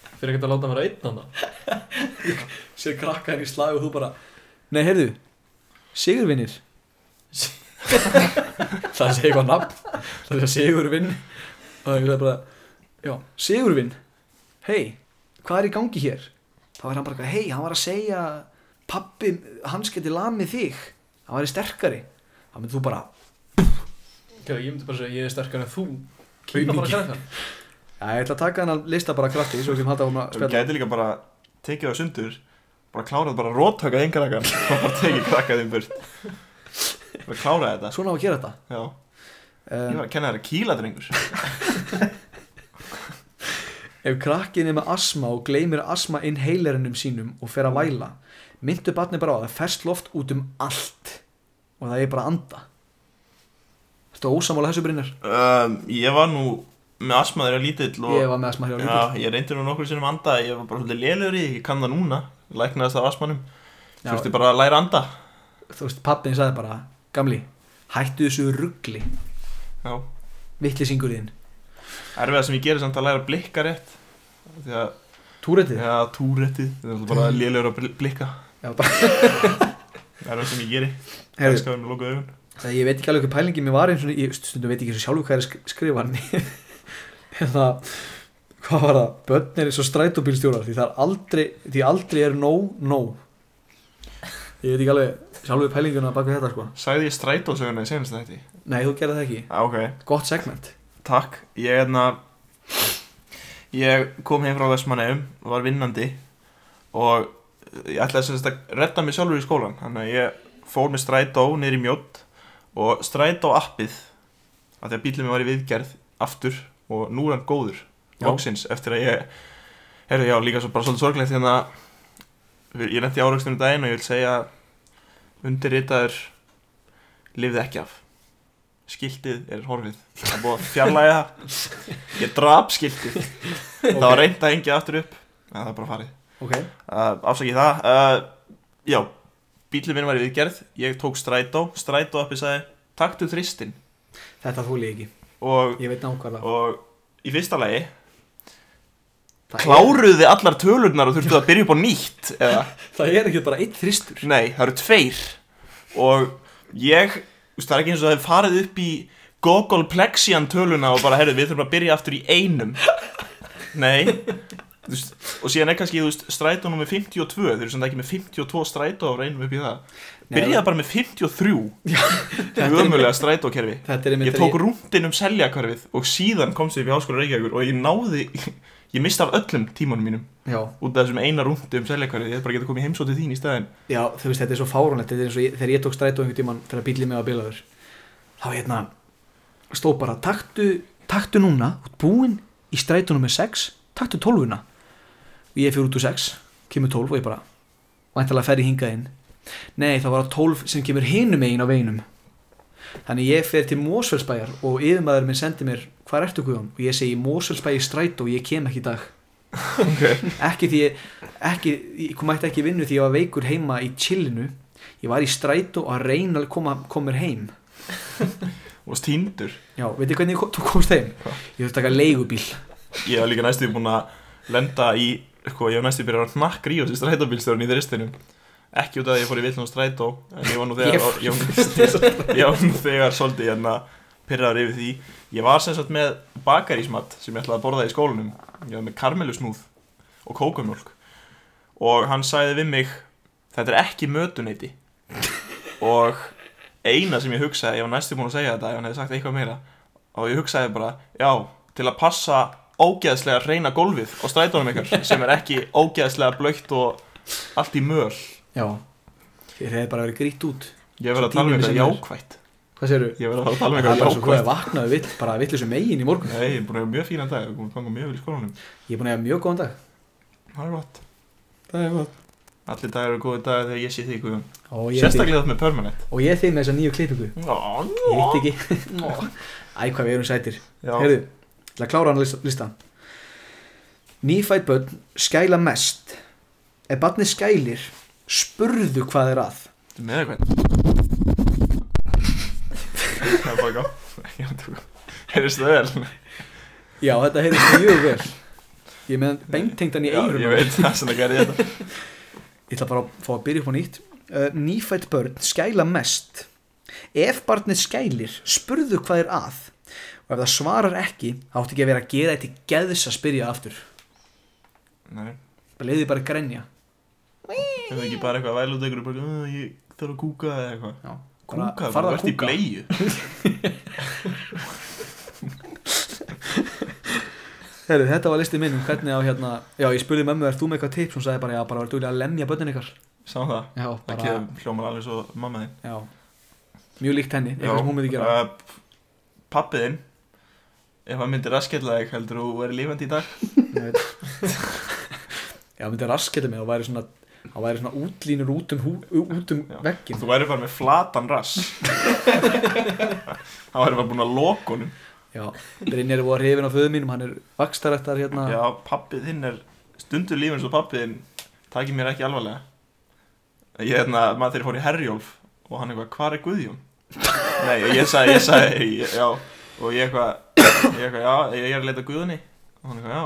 S4: Fyrir ekkert að láta mér að einn hana
S3: Sér krakka henni í slag og þú bara Nei, heyrðu, Sigurvinnir Það sé eitthvað nafn Það sé Sigurvinn Og það er bara Já, Sigurvinn Hei, hvað er í gangi hér? Þá er hann bara eitthvað, hei, hann var að segja Pappi, hans geti lamið þig Hann væri sterkari Það myndi þú bara
S4: Ég myndi bara segja ég er sterkar en þú Kýna bara krakkan
S3: Já, ég ætla að taka hann að lista bara krakki Svo við getum haldið áfram að
S5: Þú
S3: spjalla.
S5: gæti líka bara tekið það sundur bara klárað bara róttöka einn krakkan og bara tekið krakkað þeim burt bara klára þetta
S3: Svona á að gera þetta
S5: Já, ég
S3: um,
S5: var að kenna þér að kýla drengur
S3: Ef krakkin er með asma og gleymir asma inhalerinnum sínum og fer að væla, myndu barni bara á að það ferst loft út um allt og það er bara að anda. Þetta er ósamála þessu brinnar.
S5: um, Ég var nú með asmaður að lítill og
S3: Ég var með asma hér á líka.
S5: Já, ég reyndi nú nokkur sinnum að anda ég var bara svolítið lélugur í, því, ég kann það núna læknaðist af asmanum,
S3: Já.
S5: þurfti bara að læra að anda
S3: Þú veist, pappin sagði bara, gamli, hættu þessu ruggli,
S5: Já,
S3: vittlisingur þinn.
S5: erfiða sem ég gerir samt að læra að blikka rétt því að,
S3: Túrættið?
S5: já, túréttið það er náttúrulega bara lélugur að bl- blikka
S3: Já, bara,
S5: erfiða sem ég gerir,
S3: herru,
S5: elskar við með lokuð augun
S3: Það ég veit ekki alveg hvað pælingi mér var eins og ég stundum veit ekki eins og sjálfur hvað er að sk- skrifa hann hérna hvað var það, börn er eins og strætóbílstjórar því það er aldrei, því aldrei er nóg nóg ég veit ekki alveg sjálfur pælinguna bak við þetta sko
S5: Sagði ég strætósöguna í senast þetta?
S3: nei þú gerði það ekki,
S5: Já, ok.
S3: gott segment
S5: Takk. Ég, hérna, ég kom heim frá Vestmanneum, var vinnandi og ég ætlaði semst að redda mig sjálfur í skólan. Þannig að ég fór með strætó niður í mjótt og strætó appið, af því að bílum minn var í viðgerð aftur og nú er hann góður,
S3: Já.
S5: loksins, eftir að ég, herru, já, líka svo bara svolítið sorglegt hérna, ég lendi áraugstinu um daginn og ég vil segja að undirritaður lifði ekki af skiltið er horfið það er búið að fjarlæga það ég drap skiltið það var reynd að hengja aftur upp en það er bara farið
S3: ok,
S5: uh, afsakið það uh, já, bílum minn var í viðgerð ég tók strætó, strætó appi sagði taktu þristinn
S3: þetta þúli ég ekki,
S5: og,
S3: ég veit nákvæmlega
S5: og í fyrsta lagi
S3: það
S5: kláruðu þið allar tölurnar og þurftu að byrja upp á nýtt eða,
S3: er, það er ekki bara eitt þristur
S5: nei, það eru tveir og ég þú veist, það er ekki eins og það hefur farið upp í Gogol Plexian töluna og bara, herru, við þurfum að byrja aftur í einum Nei Þú veist, og síðan er kannski, þú veist, strætó nummer 52 þeir eru svona ekki með 52 strætó á reynum upp í það
S3: Nei,
S5: byrjaði
S3: það-
S5: bara með 53 ömulega strætókerfi
S3: þetta er
S5: ég tók rúndin um seljakörfið og síðan komst ég upp í háskóla Reykjavíkur og ég náði ég misti af öllum tímanum mínum
S3: já,
S5: út af þessum eina rúndi um seljakörfið ég hef bara getað komið heimsótið þín í staðin
S3: Já, þú veist, þetta er svo fáránlegt Þetta er eins og ég, þegar ég tók strætó einhvern tímann þegar bílið mig var bilaður þá hérna stóð bara, taktu, taktu núna út búinn í strætónum með 6 taktu 12una og ég fyrir út úr 6, kemur 12 og ég bara væntalega fer ég hingað inn Nei, það var 12 sem kemur hinum megin á veginum Þannig ég fer til Mósfellsbæjar og yfirmaður minn sendi mér hvað ertu Guðjón? Og ég segi Mósfellsbæji strætó og ég kem ekki í dag ekki því ég, ekki, ég kom mætti ekki í vinnu því ég var veikur heima í chillinu ég var í strætó og að reyna að koma, koma mér heim
S5: og stíndur
S3: já, veitir hvernig ég kom, þú komst heim ég þurfti að taka leigubíl
S5: ég hef líka næstu búin að lenda í sko, ég hef næstu byrjað að nakka í þessi strætóbílstjórn í þristinum ekki út af því að ég fór í villin á strætó en ég var nú þegar
S3: Ég-
S5: ég, var, ég var nú þegar svolítið hérna pyrraður yfir því ég var sem sagt með bakarísmat sem ég ætlaði að borða í skólanum ég var með karmelusnúð og kókumjólk og hann sagði við mig þetta er ekki mötuneyti og eina sem ég hugsaði ég var næstu búin að segja þetta ef hann hefði sagt eitthvað meira og ég hugsaði bara, já, til að passa ógeðslega reyna gólfið á strætónum ykkar sem er ekki ógeðslega blöytt og allt í möl
S3: já, þeir hefði bara verið grýtt út
S5: Ég verð að tala um
S3: Tíminn
S5: eitthvað
S3: sem er.
S5: jákvætt
S3: Hvað segirðu?
S5: Ég verð að fara að tala um
S3: Það er
S5: eitthvað
S3: bara svo hvað ég
S5: jákvætt
S3: vaknaði vill, bara vittlisum megin í morgun
S5: Nei, ég er búin að hafa mjög fínan dag Ég er búin að ganga mjög vel í skólanum
S3: Ég er búin að hafa mjög góðan dag
S5: Það er gott Það er gott Allir dagar eru góði dagar þegar ég sé þig Guðjón
S3: og ég er þig-
S5: Sérstaklega þetta með permanent
S3: og ég er þig með þessa nýju klippingu
S5: Já,
S3: Ég hitt ekki Æ, hvað við erum sætir
S5: já
S3: Heyrðu, til að klára hann listan Nýfætt börn skæla mest Ef barni skælir spurðu hvað er að
S5: Ertu Með eitthvað Það er bara gott Ég er að tóka Heyrðist það vel?
S3: Já, þetta heyrðist mjög vel Ég er með beintengdan í
S5: Já,
S3: eyrun
S5: ég veit það sem það gerði hérna. þetta
S3: Ég ætla bara að fá að byrja upp á nýtt uh, Nýfætt börn skæla mest Ef barnið skælir spurðu hvað er að og ef það svarar ekki þá átti ekki að vera að gera þetta í geðs að spyrja aftur
S5: Nei,
S3: bara leiði bara að grenja
S5: er það ekki bara eitthvað að væla út ykkur og bara, "Ah, Ég þarf að kúka eða eitthvað
S3: Já, bara
S5: Kúka, þú
S3: farðu að
S5: ert í
S3: kúka.
S5: bleju
S3: Heru, þetta var listið minn um hvernig á hérna Já, ég spurði mömmu, er þú með eitthvað tips? Hún sagði bara, já, bara verður duglega að lemja börnin ykkar
S5: Sá það
S3: Já,
S5: Það
S3: bara,
S5: kemur hljómar alveg svo mamma þín
S3: já Mjög líkt henni, eitthvað sem hún myndi gera
S5: Pappiðinn Ef hann myndir raskella þig heldur þú verið lífandi í dag
S3: Ég veit. Já, myndi rasketa mig og væri svona Það væri svona útlínur út um, hú, út um
S5: Já.
S3: veggin
S5: Þú væri bara með flatan rass Hann væri bara búin að loka honum
S3: Já, Brynjar er búið að hrifin á föðu mínum Hann er vakstarættar hérna
S5: Já, pappið þinn er Stundur lífin svo pappið þinn Takir mér ekki alvarlega Ég hérna, maður þeir fór í Herjólf Og hann eitthvað, hvar er Guðjón? Nei, og ég sagði, ég sagði, ég, já Og ég eitthvað, ég eitthvað, já Ég er að leita að Guðunni Og hann eitthvað, já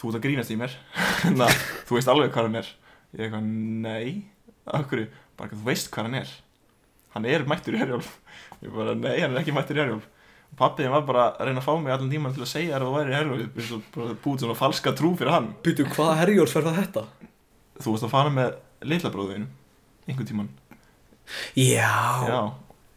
S5: Þú ert að grínast í mér Na, Þú veist alveg hvað hann er Ég eitthvað, nei, af hverju Bara eitthvað, þú veist hvað hann er Hann er mættur í Herjólf Ég bara, nei, hann er ekki mættur í Herjólf Pappið var bara að reyna að fá mig allan tíman til að segja þér að þú væri í Herjólfi Svo bara búið svona falska trú fyrir hann
S3: Býtu, hvaða herjóls verða þetta?
S5: Þú varst að fara með litla bróðinu Einhvern tíman
S3: Já,
S5: Já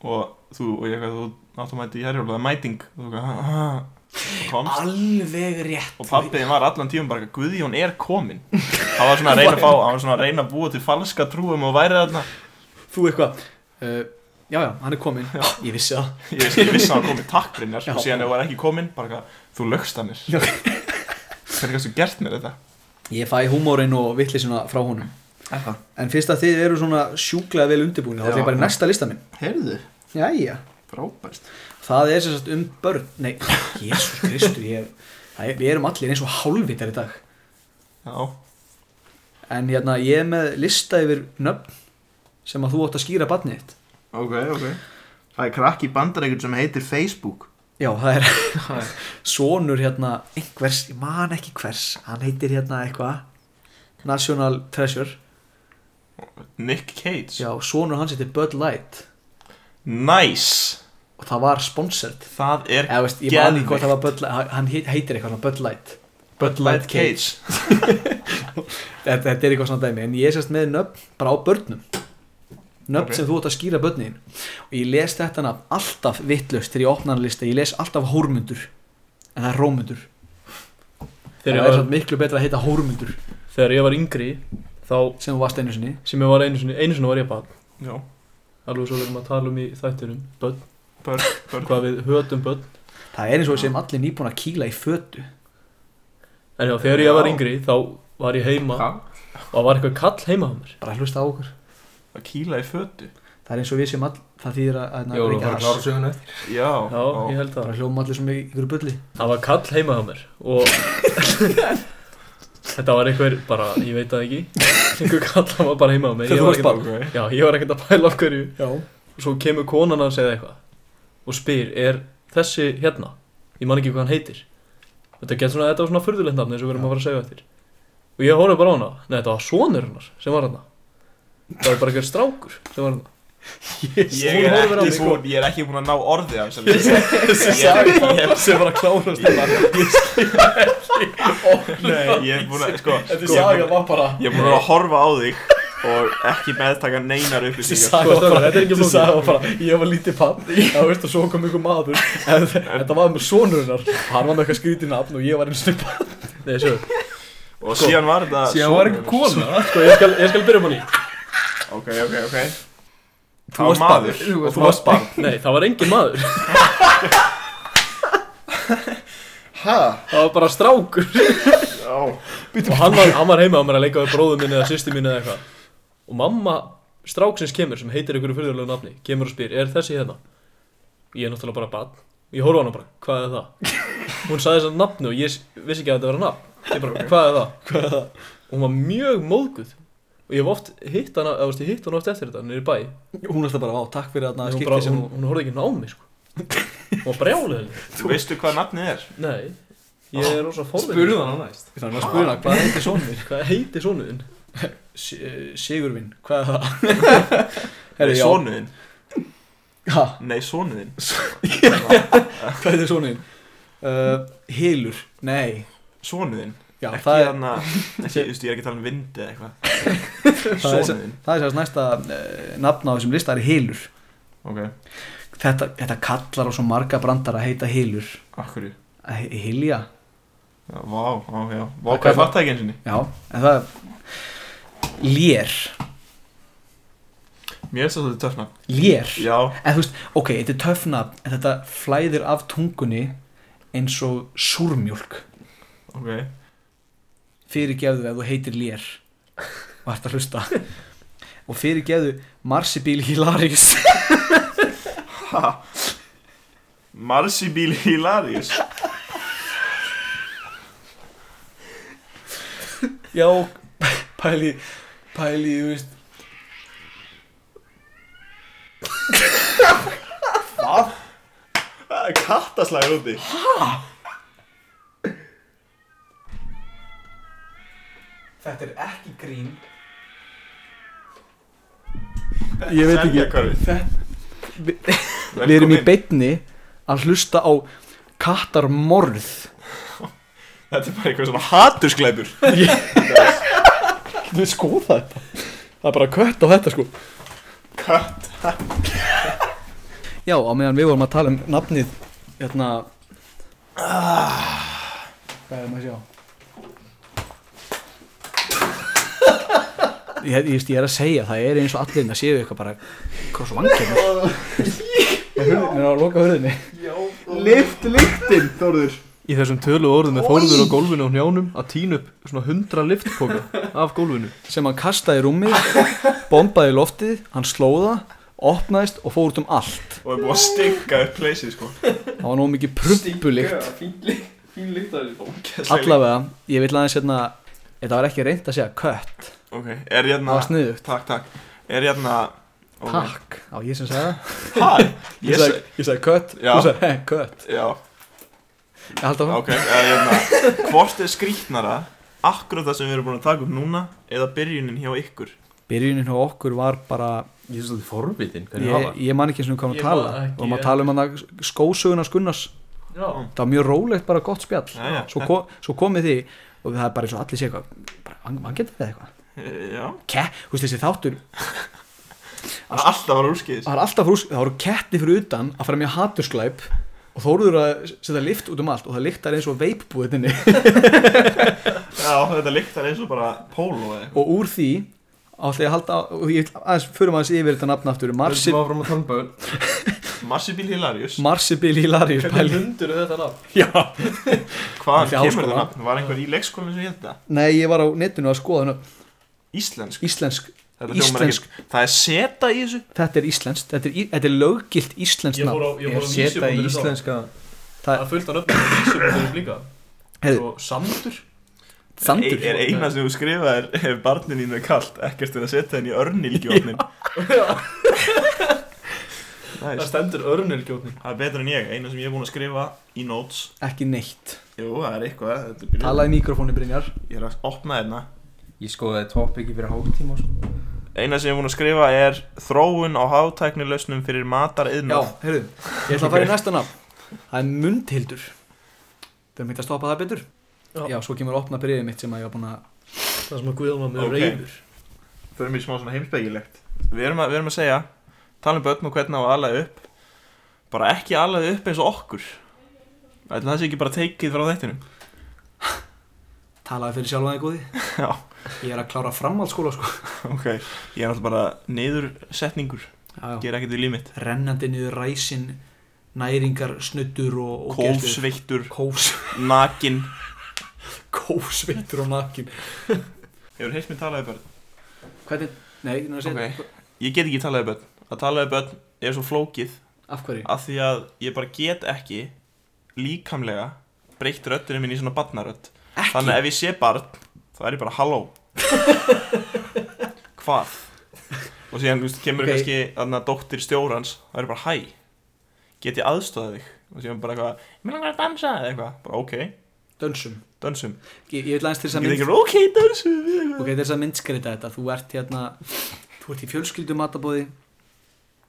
S5: Og þú, og ég eitthvað, þú átt að mæti í Herjólfi Það er mæting Og þú eitthvað, "Ha, ha." Þú komst
S3: alveg rétt
S5: Og pappið var allan tíman bara eitthvað, Guðjón er komin Hann var svona að reyna að fá Hann var svona að reyna að búa til falska trú um að væri þarna
S3: Þú eitthvað uh, Já, já, hann er kominn Ég vissi það
S5: Ég veist, ég vissi að hann komin takk Brynjar
S3: Já.
S5: Og sko, síðan ef hann var ekki komin Bara eitthvað, þú lögst að mér
S3: Já.
S5: Hvernig gæstu gert mér þetta?
S3: Ég fæ húmórin og vittlisina frá honum
S5: Eitthvað
S3: En fyrst að þið eru svona sjúklega vel undirbúin þá ætlum ég bara í næsta lista minn
S5: Heyrðu,
S3: Jæja
S5: frábært
S3: Það er sem sagt um börn Nei, Jésús Kristur ég, það er- Við erum allir eins og hálfvitar í dag
S5: Já,
S3: En hérna, ég er með lista yfir nöfn sem að þú átt að skýra barnið þitt
S7: Ok, ok Það er krakki bandarækjum sem heitir Facebook
S3: Já, það er, það er sonur hérna einhvers, ég man ekki hvers hann heitir hérna eitthvað National Treasure
S5: Nick Cage
S3: Já, sonur hans heitir Bud Light
S5: Nice
S3: og það var sponsored
S5: Það er
S3: Eða, veist, ég man ekki hvort það var Bud Light hann heit- heitir eitthvað svona Bud Light Bud
S5: Light Cage
S3: þetta, þetta er eitthvað svona dæmi en ég er sérst með nöfn bara á börnum nöfn
S5: Ok.
S3: sem þú átt að skýra börnin og ég les þetta nafn alltaf vittlust þegar ég opna hann lista, ég les alltaf hórmundur en það er rómundur
S4: Þegar
S3: það er
S4: ég, var,
S3: svolítið miklu betra að heita hórmundur
S4: þegar ég var yngri Þá
S3: sem þú varst einu sinni
S4: sem ég var einu sinni Einu sinni var ég barn
S5: Já,
S4: Alveg svo við erum að tala um í þættinum Börn
S5: börn, börn
S4: Hvað við hötum börn
S3: það er eins og við séum allir nýbúin að kýla í fötu
S4: En já, þegar ég var
S5: Já.
S4: yngri Þá var ég heima
S5: Ha?
S4: Og það var eitthvað kall heima á mér
S3: bara hlusta á okkur
S5: Að kýla í fötu
S3: það er eins og við séum all það þýðir að, að,
S6: Jó,
S3: að
S6: þú
S3: reykja
S6: fara
S3: hass.
S6: klársöguna eftir
S5: Já,
S4: Já, ég held það
S3: bara hljóma allir sem í ykkur bulli
S4: Það var kall heima hjá mér og þetta var einhver bara, ég veit það ekki einhver kall hann var bara heima hjá mér
S3: Þegar
S4: Ég
S3: þú
S4: var
S3: varst
S4: ekkert að- Já, ég var ekkert að pæla af hverju
S3: já
S4: og svo kemur konan hans eða eitthvað og spyr, er þessi hérna ég man ekki hvað hann heitir þetta, getur svona, þetta var svona furðulegt nafn eins og við erum að fara að segja eftir og ég horfði bara á hana Nei, þetta var sonur hannar sem var hana það var bara einhver strákur sem var hana
S5: Ég er,
S4: Hún horfir á
S5: ekki
S4: mig, sko.
S5: búin, ég er ekki búin að ná orði af þessari lýsingu. Ég- ég-
S4: sem var að klára
S5: Nei, ég er búin að, sko
S4: þetta
S5: sko, ég er búin-
S4: var bara
S5: Ég er búin að horfa á þig og ekki meðtaka neinar upplýsingar Sko,
S4: Saga var bara, þetta er ekki
S3: Þessi
S4: flókið Saga var bara, ég var lítið papp Það veist að svo kom einhver maður en Þetta var með sonurinnar Hann var með eitthvað skrítið nafn og ég var eins og papp Nei, sjö
S5: Og síðan var þetta
S6: Síðan var ekki kona
S4: Sko, ég skal, ég skal byrja um hann í
S5: Ok, ok, ok Það var maður
S4: Og þú varst barn Nei, það var engin maður
S7: Hæ?
S4: Það var bara strákur
S7: Já
S4: Og hann var, hann var heima á mér að leika við bróðum minni eða sýsti minni eða eitthvað Og mamma stráksins kemur sem heitir einhverju fyrirlegu nafni Kemur og spyr, er þessi hérna? Ég er náttúrulega bara barn Ég horfa á hana bara, hvað er það? Hún sagði þessan nafni og ég s- vissi ekki að þetta vera nafn Ég bara, hvað er það? Hvað er það? Og hún var mjög móðguð Og ég hef oft hitt hana, eða þú veist, ég hitt hana oft eftir þetta, niður í bæ
S3: Hún er alltaf bara á, takk fyrir þarna
S4: Nei, hún, bara,
S3: skipti sem
S4: hún, hún horfði ekki á mig sko Hún var brjálega
S5: Þú veistu hvað nafnið er?
S4: Nei, ég er rosa forvitinn
S6: Spurðu hann á næst
S3: Við þarfum að spuna, hvað heitir sonur þinn?
S4: Hvað heiti sonuðin?
S3: S- eh, Sigurvin, hvað er það?
S5: Nei,
S3: Herri, já.
S5: sonuðinn
S3: Ha,
S5: Nei, sonuðinn
S3: hvað heitir sonur þinn? Uh, Hilur, nei
S5: Sonuðinn
S3: Já,
S5: Ekki
S3: það er,
S5: hann að Ekki, þú veist, ég er ekki að tala um vind eða eitthvað
S3: það er,
S5: Sonuðinn
S3: það er sérst næsta uh, nafn á þessum lista er Hilur
S5: Ok,
S3: þetta, þetta kallar á svo marga brandar að heita Eh, Hilur
S5: akkurju
S3: Að he- Hilja,
S5: Já, vá, á, já Vá, hvað
S4: Ok, það-
S5: ég fatt ekki einsinni
S3: já, en það er Lér,
S5: Mér er þetta töfna
S3: Lér
S5: Já,
S3: En þú veist, ok, þetta er töfna en þetta flæðir af tungunni eins og súrmjólk
S5: ok
S3: fyrirgefðu ef þú heitir Lér og ert að hlusta og fyrirgefðu Marsibíl Hilaris
S5: Marsibíl Hilarius
S3: Já, pæli pæli, þú veist
S5: Það er kattaslagur úti
S3: Þetta er ekki grín
S5: Ég veit ekki
S3: Við erum í beinni að hlusta á kattarmorð
S5: Þetta er bara eitthvað svona hatursglæpur
S3: Við skoða þetta Það er bara kött á þetta sko
S5: Katt
S3: Já, á meðan við vorum að tala um nafnið Hérna Hvað er maður að sjá? Ég, ég, ég er að segja, það er eins og allir að séu eitthvað bara Kross og vangir Ég er að loka hurðinni
S7: Lift lyktin, Þorður
S4: Í þessum tölu orðum er Þórður á gólfinu og hnjánum að tína upp svona hundra liftpoka af gólfinu
S3: Sem hann kastaði í rúmið Bombaði í loftið, hann slóða Opnaðist og fór út um allt
S5: Og er búið að stinga upp pleysið sko
S3: Það var nóg mikið prumpulikt
S6: Fín lykt af þessu
S3: Allavega, ég vil aðeins hérna Þetta var ekki reynd að segja kött
S5: Ok, er
S3: Það
S5: hérna
S3: var sniðugt
S5: Takk, takk Er hérna ok.
S3: Takk, á ég sem sagði það
S5: Takk
S3: Ég
S5: Ég
S3: sagði, ég sagði kött,
S5: Já.
S3: þú sagði heh, kött
S5: seg Já,
S3: Ég held að
S5: ok Er hérna Hvort er skrítnara Akkurat það sem við erum búin að taka upp núna Eða byrjunin hjá ykkur
S3: Byrjunin hjá okkur var bara
S4: Ég er svolítið forvitinn,
S3: Ég, ég man ekki eins og hvað
S4: Ég
S3: hann tala
S4: man ekki,
S3: Og maður
S4: ég-
S3: tala um hann skósögunas Gunnars
S4: Já,
S3: Það var mjög rólegt bara gott spjall
S5: Já, já.
S3: Svo, ko, svo komið því Og það er bara eins og allir sé eitthvað bara, Hann, hann getur þetta eitthvað
S5: Eh, Já
S3: Ke, þú veist þessi þáttur
S5: Það er alltaf að vera úrskýðis
S3: Það var alltaf frús Það voru ketti fyrir utan að fara mjög hatursklæp Og þóruður að setja lift út um allt Og það lyktar eins og veipbúðinni
S5: Já, þetta lyktar eins og bara Pólo eða eitthvað
S3: Og úr því Átti ég að halda Og ég vil aðeins Förum aðeins yfir þetta nafn aftur Marsi
S6: Við erum áfram að tala um börn
S5: Massibíl Hilarius
S3: Marsibil Hilarius
S4: Hvernig
S3: pæli
S4: hundur er þetta nafn?
S3: Já
S5: Hvaðan
S3: Ekki
S5: kemur
S3: háskóla.
S5: þetta nafn? Var einhver í leikskólanum sem hétt þetta?
S3: Nei, ég var á netinu að skoða hana
S5: Íslensk
S3: Íslensk
S5: Þetta hljómar
S3: Íslensk.
S5: ekkert- Það er seta í þessu
S3: Þetta er íslenskt Þetta er, í- þetta er löggilt íslenskt
S4: Ég fór
S3: nafn
S4: á, ég fór á
S6: Seta í
S4: vísi.is á.
S6: íslenska
S4: Það er fullt af nöfnum á vísi.is líka
S3: Heyrðu,
S4: Og Sandur
S3: Sandur
S5: Er eina sem þú skrifaðir Ef barnin þín er kalt Ekkert er að setja henni í örnilgjófnin
S4: Það
S5: Næs
S4: stendur örnulgjóðning
S5: Það er betur en ég Eina sem ég er búin að skrifa Í notes
S3: Ekki neitt
S5: Jú, það er eitthvað Þetta er byrjun
S3: Talaði í mikrofónu Brynjar
S5: Ég er að opna hérna
S6: Ég skoðaði topiki fyrir hálftíma og svo.
S5: Eina sem ég er búin að skrifa er Þróun á hátæknilausnum fyrir matar
S3: Já,
S5: yðnað
S3: heyrðu Ég ætla að fara í næsta nafn Það er Mundhildur Þau mitt að stoppa það betur
S4: Já.
S3: Já, svo kemur opna byrðið mitt sem að ég var búin að
S4: Það sem að Guðjón var með
S5: Ok.
S4: reyður
S7: Þau erum í smá svona heimsbyggilegt
S5: við, erum að- við erum að segja Tala um börn og hvernig á að alaði upp Bara ekki alaði upp eins og okkur Ætli Það sé ekki bara teikið frá þettinum
S3: Talaði fyrir sjálf aðeins góði
S5: Já.
S3: Ég er að klára framhaldsskóla sko
S5: Ok, ég er náttúrulega bara niður setningur
S3: já, já.
S5: gera ekkert við líf mitt
S3: rennandi niður ræsin næringar, snuddur og, og
S5: kófsveittur,
S3: kófs,
S5: nakin
S3: kófsveittur og nakin
S5: hefur heilt mér talaði börn
S3: hvernig, nei, ég er að segja okay.
S5: ég get ekki talaði börn að talaði börn er svo flókið
S3: af hverju
S5: af því að ég bara get ekki líkamlega breytt röddurinn minn í svona barnarödd
S3: Ekki?
S5: þannig að ef ég sé barn þá er ég bara halló hvað og síðan þú veist, kemur
S3: Ok.
S5: kannski þarna dóttir stjórans þá er ég bara hæ get ég aðstofað þig og síðan bara eitthvað ég vil að dansa eða eitthvað bara ok
S3: dönsum,
S5: dönsum
S3: ég, ég vil aðeins til þess
S5: ég
S3: að
S5: get
S3: mynd
S5: ekki bara ok dönsum
S3: ok, til þess að myndskreita þetta þú ert hérna, þú ert í fjölskyldum matabóði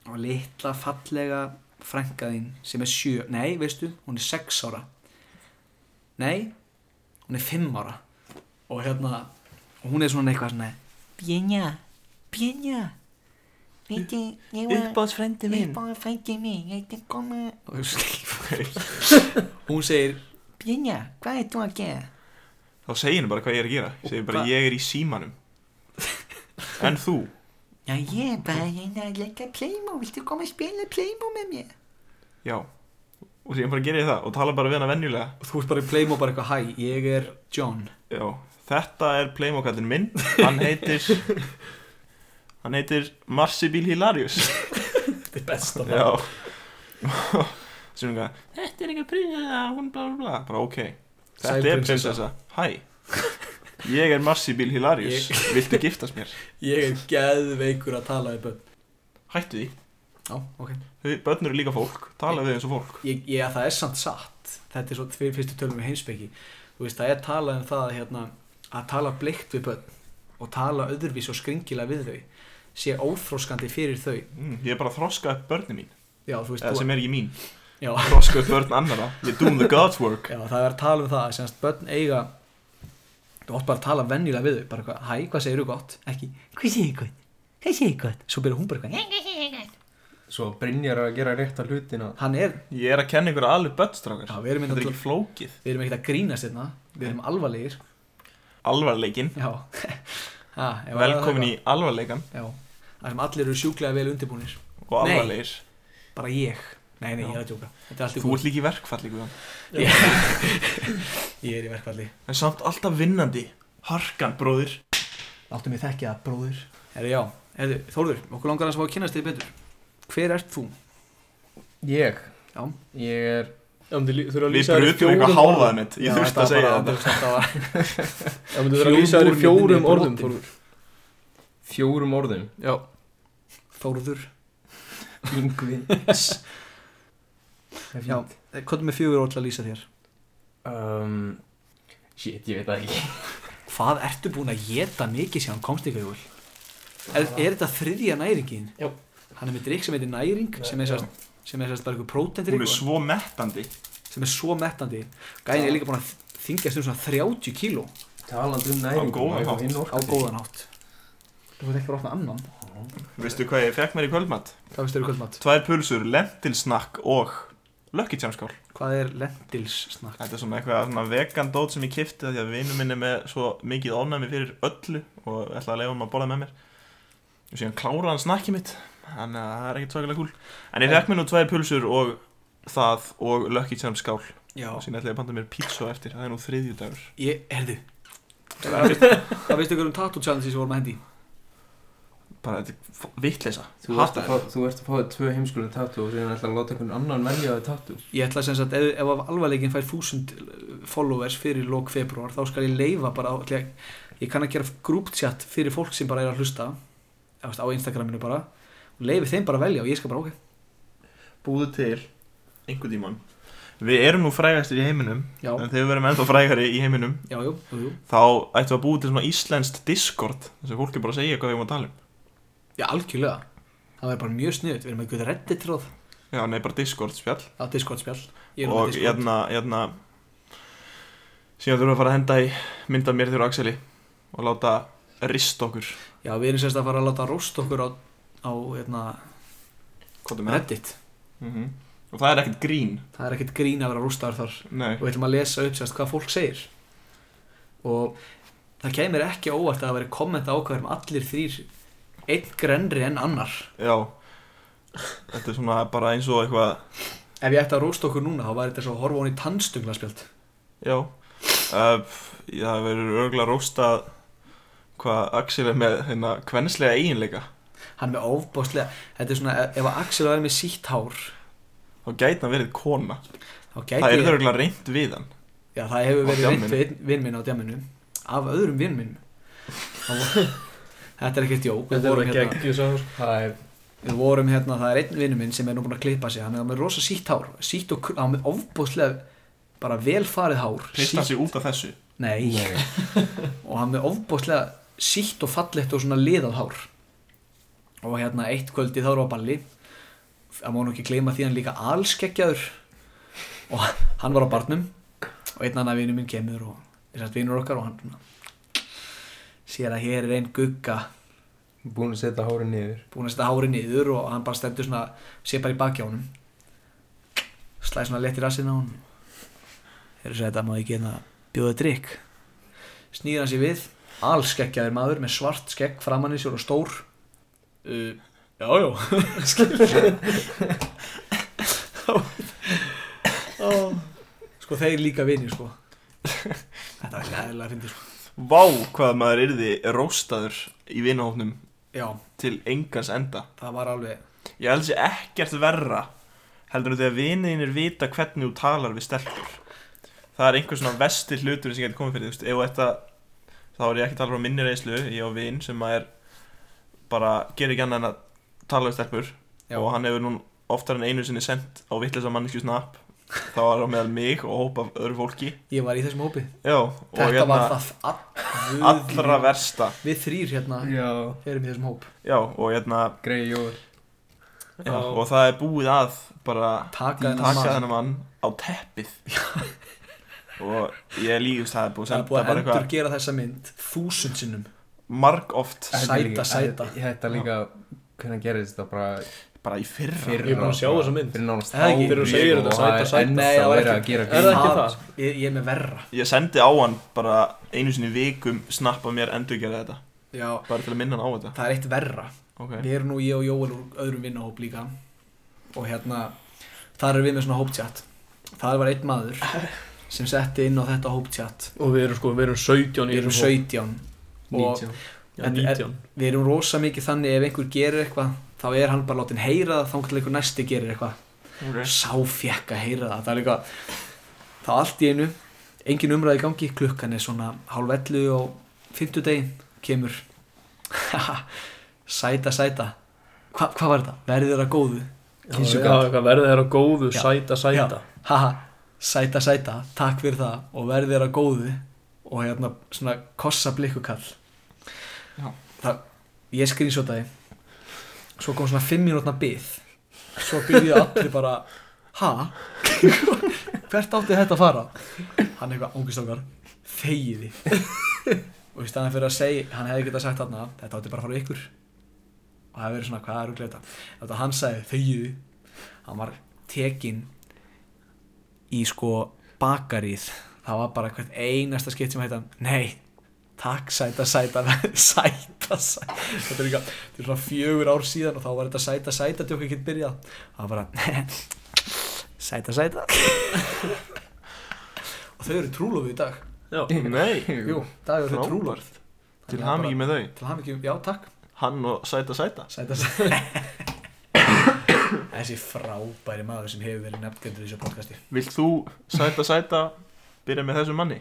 S3: og litla fallega frænka þín sem er sjö, nei, veistu, hún er sex ára nei hún er fimm ára og hérna, og hún er svona eitthvað svona
S9: Bjenja, Bjenja, veitir, ég var
S5: uppáðsfrendi minn
S9: bara frækið mig, ég er komið,
S3: hún segir,
S9: Bjenja, hvað er þú að gera?
S5: þá segir henni bara hvað ég er að gera ég segir bara ég er í símanum en þú
S9: Já, ég er bara hérna að leika Playmo, viltu koma að spila Playmo með mér?
S5: Já Og síðan bara gerir ég það og tala bara við hana venjulega
S3: og þú ert bara í pleim og bara eitthvað hæ, ég er John
S5: Já Þetta er playmokallin minn Hann heitir Hann heitir Marsibil Hilarius
S3: þetta er best að
S5: Já Sjónum hvað Þetta er eitthvað prinsessa Hún bla bla bla Bara ok Þetta
S3: Sæl
S5: er
S3: prinsessa.
S5: prinsessa Hæ Ég er Marsibil Hilarius Viltu giftast mér?
S3: ég er geðveikur að tala við börn
S5: Hættu því
S3: já, ok
S5: Þau- Börn eru líka fólk Tala við eins og fólk
S3: ég, ég, það er samt satt þetta er svo fyrir fyrstu tölum við heimsbyggi þú veist, það er talað um það hérna, að tala bleikt við börn og tala öðruvís og skringilega við þau sé óþróskandi fyrir þau
S5: mm, Ég er bara að þroska upp börni mín
S3: já, þú veist,
S5: Eða
S3: þú,
S5: sem er ekki mín
S3: já,
S5: Þroska upp börn annara Ég doing the God's work
S3: já, það er að tala um það að semst börn eiga þú átt bara að tala venjulega við þau bara eitthvað, hæ, hvað segir þú gott, ekki
S9: Hvað segir gott? Hvað segir gott?
S3: svo byrja hún bara eitthvað,
S6: Svo Brynjar er að gera rétt að hlutina
S3: "Nei." hann er
S5: Ég er að kenna ykkur að alveg börnstrákar
S3: Já, við erum
S5: Þetta
S3: hérna
S5: er
S3: til-
S5: ekki flókið
S3: við erum ekkert að grínast hérna, við erum alvarlegir
S5: Alvarleikin
S3: já, ha, ef að ræða
S5: Velkomin í
S3: það
S5: alvarleikan
S3: eitthvað. já, það sem allir eru sjúklega vel undirbúnir
S5: og
S3: Nei.
S5: alvarleir
S3: bara ég nei, nei, ég er að djóka Þetta er allt í
S5: Þú
S3: góðu.
S5: ert líka í verkfall ykkur
S3: ég er í verkvalli
S5: En samt alltaf vinnandi Harkan, bróðir
S3: láttu mig þekkja það, bróður herri, já, herri, Þórður, okkur langar að smá að kynast þig betur hver ert þú?
S6: Ég
S3: Já.
S6: Ég er
S4: Ef myndi lí- þurfa að
S5: Við
S4: lýsa þér í
S5: brutum eitthvað
S4: fjórum orðum
S5: háðað mitt Ég þurfti að segja þetta
S3: þetta
S4: Ef myndi þurfa að lýsa þér í
S3: Fjórum
S4: fjórum
S3: orðum
S4: orðum
S3: brotin.
S4: Þórður.
S6: fjórum orðum
S4: Já,
S3: Þórður,
S6: Yngvi
S3: já, eh, hvað er með fjögur orð til að lýsa þér?
S6: um, Shit, ég veit það ekki
S3: hvað ertu búin að geta mikið síðan komst ykkur jól? Er, er þetta þriðja næringin?
S4: Já.
S3: hann er með drikk sem heitir næring sem er sérst sem er sérst bara eitthvað prótendrikk
S5: Hún er svo mettandi
S3: sem er svo mettandi gæðin er líka búin að þingjast um svona 30 kíló
S6: Talandi um næringu
S5: góðan hátt.
S3: á góðan hátt þú veit ekki að opna annan
S5: Veistu hvað ég fekk mér í kvöldmatt?
S3: hvað finnst þér í kvöldmatt?
S5: Tvær pulsur, lentilsnakk og Lucky Charms skál
S3: hvað er lendilssnakk?
S5: Þetta er svona eitthvað svona vegan dót sem ég kifti Því að vinur minn er með svo mikið ánæmi fyrir öllu Og ætlaði að leifa hann að borða með mér Og síðan kláraði hann snakkið mitt Þannig að það er ekkert svakalega kúl En ég rekk mér nú tvær pulsur og það Og Lucky Charms skál Og
S3: já
S5: síðan ætlaði ég að panta mér pizza á eftir Það er nú þriðjudagur
S3: Ég, herðu Það veistu- það veistu ykkur um tattoo challenge sem við vorum að hendi í?
S5: Bara þetta er vitleisa
S6: Þú ert, að, fá- þú ert að fá þér tvö heimskulum tattu og síðan ætla að láta einhvern annan velja þér tattu
S3: Ég ætla sem sagt, ef, ef alvarleikin fær 1000 followers fyrir lók februar þá skal ég leifa bara, ætla ég, ég kann að gera grúptjatt fyrir fólk sem bara er að hlusta eða, veist, á Instagraminu bara og leifi þeim bara að velja og ég skal bara ok
S5: Búðu til einhvern tímann Við erum nú frægastir í heiminum
S3: Já,
S5: En þegar við verðum ennþá frægari í heiminum
S3: já, jú, jú, jú
S5: Þá ættum við að búið til svona íslenskt Discord Þess að fólk er bara að segja hvað við erum að tala um
S3: Já, algjörlega Það verður bara mjög sniðut, við erum eitthvað redditróð
S5: Já, nei, bara Discord spjall
S3: á Discord spjall Ég er með
S5: Og
S3: Discord
S5: hérna, hérna Síðan þurfum við að fara að henda í mynd af mér þér og Axeli Og láta rist okkur
S3: Já, við erum sérst að fara að láta róst okkur á, á hérna,
S5: Kvotum
S3: reddit
S5: Mhm. Og það er ekkert grín
S3: Það er ekkert grín að vera róstaður þar
S5: Nei,
S3: og við ætlum að lesa upp sérst hvað fólk segir og það kemur ekki óvart að það veri kommenta á hverjum allir þrýr einn grenri en annar
S5: já Og Þetta er svona bara eins og eitthvað
S3: Ef ég ætti að rósta okkur núna, þá var þetta svo að horfa á hún í tannstönglaspjöld
S5: Já uh, Það verður örgulega róstað Hvað Axel er með hérna Kvennslega eiginleika
S3: Hann er með ofbáslega, þetta er svona, ef að Axel væri með sítt hár
S5: Þá gæti hann verið kona
S3: þá
S5: Það
S3: gæti
S5: er
S3: ég,
S5: örgulega reynd við hann
S3: já það hefur
S5: á
S3: verið
S5: djamminu.
S3: reynt við einn vinn minn á djamminu Af öðrum vinn minn Þetta er ekkert jók, við
S4: Þetta er
S3: vorum
S4: það
S3: hérna
S4: geggju sá
S6: Það er
S3: Við vorum hérna, það er einn vinnu minn sem er nú búinn að klippa sig, hann er með rosa sítt hár, sítt og, kr- hann er með ofbóðslega, bara velfarið hár,
S5: Pista sig út af þessu
S3: nei, og hann er með ofbóðslega sítt og fallegt og svona liðað hár. Og hérna eitt kvöldi þá eru á balli, það má nú ekki gleyma því hann er líka allskeggjaður og hann var á barnum og einn annar vinnu minn kemur og þess að vinnur okkar og hann svona, sér að hér er einn gugga
S6: búin að setja hárið niður
S3: búin að setja hári niður og hann bara stendur svona sé bara í baki á honum slæði svona létt í rassin á honum þegar þess að þetta má ekki hérna bjóða drikk snýr hann sér við allskeggjaður maður með svart skegg framann í sér og stór uh, jájó skilur sko þeir líka vini sko þetta var gæðilega að finna sko
S5: Vá hvað maður yrði róstaður Í vinahóknum
S3: já,
S5: til engans enda
S3: það var alveg
S5: Ég held sér ekkert verra Heldur en þegar viniðinir vita hvernig þú talar við stelpur Það er einhver svona vestir hlutur sem getur komið fyrir, þú veist, ef þetta þá er ég ekki að tala frá minni reynslu, ég á vin sem að er bara gerir ekki annað en að tala við stelpur
S3: Já.
S5: og hann hefur nú oftar en einu sinni sendt á vitleisa manneskju snap þá var hann meðal mig og hópa af öðru fólki
S3: ég var í þessum hópi
S5: Já, og
S3: Þetta
S5: hérna
S3: var það
S5: allra
S3: verð
S5: versta
S3: Við þrýr hérna
S6: Já,
S3: erum í þessum hóp
S5: Já, og hérna
S6: greið jól
S5: já, og það er búið að bara
S3: Taka þennan
S5: taka
S3: mann
S5: þennan mann á teppið og ég lífist það er búið að
S3: Það er
S5: senda
S3: búið að
S5: bara
S3: endur
S5: eitthvað
S3: gera þessa mynd þúsund sinnum
S5: marg oft
S6: Þetta er líka-
S3: sæta.
S6: Þetta þetta líka, hvernig gerist þetta bara
S5: bara í fyrra
S6: fyrir
S4: Ég er búinn að sjá þessa mynd.
S6: Fyrir nánast
S3: Það er ekki.
S6: ári
S4: Fyrir að segja þetta,
S6: og
S4: sæta,
S6: það er
S4: sæta.
S6: ennþá
S3: Nei, það var
S6: verið
S3: ekki-
S6: að gera
S4: Er það
S6: grín.
S4: ekki
S3: Ég, ég er með verra
S5: ég sendi á hann bara einu sinni í vikum snappa mér endurgerða þetta
S3: Já,
S5: bara til að minna hann á þetta
S3: það er eitt verra
S5: okay.
S3: Við erum nú ég og Jóel úr öðrum vinnahóp líka og hérna þar erum við með svona hóptjatt þar var einn maður sem setti inn á þetta hóptjatt
S4: Og við erum sko, við erum 17 í
S3: Við erum
S4: þessum
S3: 17
S4: hóp.
S3: og
S6: 19.
S4: Já,
S3: Þetta er-
S4: 19
S3: við erum rosa mikið þannig ef einhver gerir eitthvað þá er hann bara látin heyra það þá til einhver næsti gerir eitthvað
S5: Ok.
S3: sá fekk að heyra það það er líka þá allt í einu engin umræði í gangi klukkan er svona hálf 11 á 50 degin kemur sæta sæta Hva, hvað var þetta? verður það góðu
S4: Já, já,
S6: Kynsugat.
S4: eitthvað verði þeirra góðu,
S3: Já.
S4: sæta, sæta
S3: haha, sæta sæta, takk fyrir það og verði þeirra góðu og hérna svona kossa blikkukall
S5: Já.
S3: það, ég skrýnsotaði svo kom svona fimm mínútna byð svo byrjuði allir bara ha, hvert átti þetta að fara hann eitthvað ógistakar þegiði og í staðan fyrir að segja, hann hefði getað sagt þarna þetta átti bara að fara á ykkur og það hefði verið svona, hvað er úrlega þetta þetta hann sagði þegiði hann var tekinn í sko bakarið það var bara hvert einasta skipt sem heita nei, takk sæta sæta sæta sæta þetta er líka, þetta er svona fjögur ár síðan og þá var þetta sæta sæta tjók ekki byrjað það var bara sæta sæta og þau eru trúlofu í dag
S4: Já,
S5: nei,
S3: jú, dag eru þau trúlofu
S5: frábært til hamingi með þau
S3: til hamingjum, já takk
S5: hann og sæta sæta
S3: sæta sæta þessi frábæri maður sem hefur verið nefnt undir þessu podcasti
S5: vilt þú sæta sæta byrja með þessum manni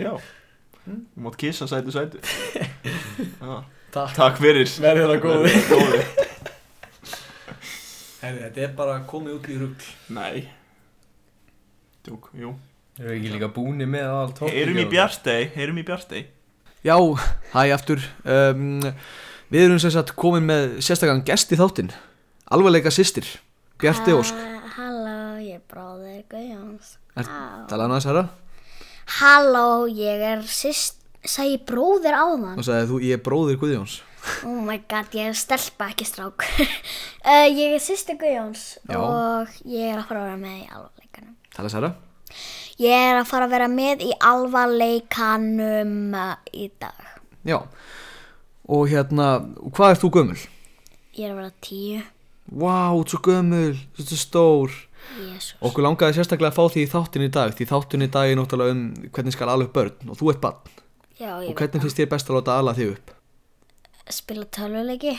S5: já
S3: Hm?
S5: þú mátt kissa sætu sætu já.
S3: takk,
S5: takk fyrir hérna
S3: verður það góði
S5: Verið þér að góðu.
S3: Herri, þetta er bara komið út í rugg
S5: nei Tjók, jú.
S6: Erum við ekki líka búni með all tók
S5: Heyrum í Bjartey, heyrum í Bjartey
S3: Já, hæ aftur um, Við erum sem sagt komin með sérstakann gest í þáttinn Alvarleika sýstir Bjarti Ósk
S2: Ah, Halló, ég er bróðir Guðjóns
S3: Er-
S2: Á.
S3: Talaðan aðeins herra
S2: Halló, ég er sýst Sæði bróðir áðan
S3: Þá sagði þú, ég er bróðir Guðjóns
S2: Oh my god, ég er stelpa ekki strák uh, Ég er sýsti Guðjóns
S3: Já.
S2: Og ég er að fara að vera með í alvarleikanum
S3: Talaðan herra
S2: Ég er að fara að vera með í alvarleikanum uh, í dag
S3: Já Og hérna, hvað er þú gömul?
S2: Ég er að vera tíu
S3: Vá, wow, svo gömul, svo stór
S2: Jésús.
S3: Okkur langaði sérstaklega að fá því í þáttin í dag Því þáttin í dag er náttúrulega um hvernig skal ala upp börn Og þú ert barn
S2: Já,
S3: Og
S2: ég veit.
S3: hvernig finnst þér best að láta ala þig upp
S2: Spila tölvuleiki?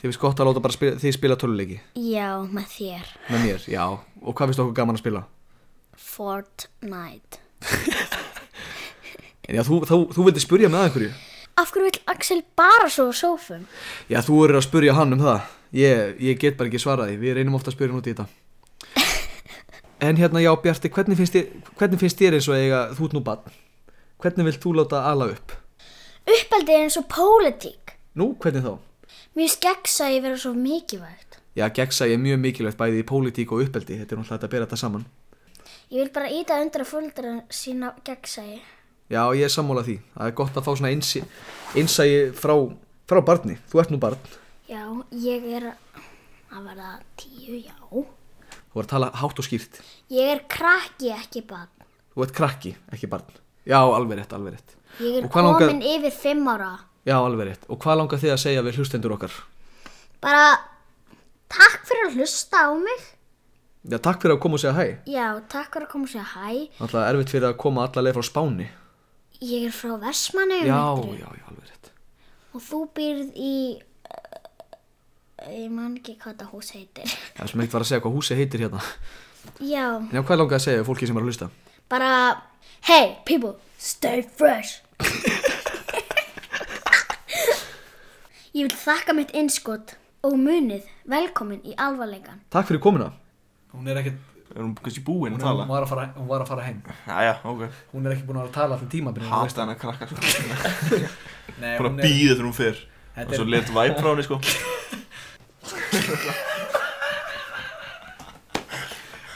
S3: Þið finnst gott að láta bara spila, þið spila töluleiki
S2: Já, með þér.
S3: Með mér, já Og hvað finnst okkur gaman að spila?
S2: Fortnite.
S3: En já, þú, þú, þú vildi spurja með einhverju
S2: Af hverju vill Axel bara sofa á sófum?
S3: Já, þú eru að spurja hann um það Ég, ég get bara ekki svarað því Við reynum ofta að spurja hann út í þetta En hérna, já, Bjarti, hvernig finnst þér, hvernig finnst þér eins og eiga þú ert nú barn? Hvernig vilt þú láta ala upp?
S2: Uppeldi er eins og pólitík.
S3: Nú, hvernig þá?
S2: Mér skegsa að ég vera svo mikilvægt.
S3: Já, gegnsæi er mjög mikilvægt bæði í pólitík og uppeldi, þetta er náttúrulega hægt að bera þetta saman.
S2: Ég vil bara íta undir að fóldra sína gegnsæi.
S3: Já, ég er sammála því. Það er gott að fá svona einsi, einsæi frá, frá barni. Þú ert nú barn.
S2: Já, ég er að verða tíu, já.
S3: Þú ert að tala hátt og skýrt.
S2: Ég er krakki, ekki barn.
S3: Þú ert krakki, ekki barn. Já, alveg rétt, alveg rétt.
S2: Ég er
S3: Og hvað langar-
S2: komin yfir fimm ára.
S3: Já, alveg rétt. Og hvað langar þið að segja við hlustendur okkar?
S2: Bara takk fyrir að hlusta á mig.
S3: Já, takk fyrir að koma og segja hæ.
S2: Já, takk fyrir að koma og segja hæ.
S3: Alltaf erfitt fyrir að koma alla leið frá Spáni.
S2: Ég er frá Vestmannu.
S3: Já, já, já, alveg rétt.
S2: Og þú byrð í, uh, ég man ekki hvað þetta hús heitir.
S3: Það er sem eitt var að segja hvað húsi heitir hérna.
S2: Já,
S3: En já, hvað langar að segja við fólki sem er að hlusta?
S2: bara, hey people, stay fresh. ég vil þakka mitt innskot og munið velkomin í alvarleikan.
S3: Takk fyrir komuna. Hún er ekkert,
S5: Erum kannski búin
S3: hún,
S5: að tala?
S3: var, að fara, hún var að fara heim.
S5: Jæja, ok
S3: Hún er ekki búin að vera að tala allir tíma
S5: Hata hann að krakka sko
S3: Nei,
S5: Bara
S3: hún er-
S5: býðið þegar hún fer
S3: Þetta
S5: Og svo
S3: er-
S5: let væp frá henni sko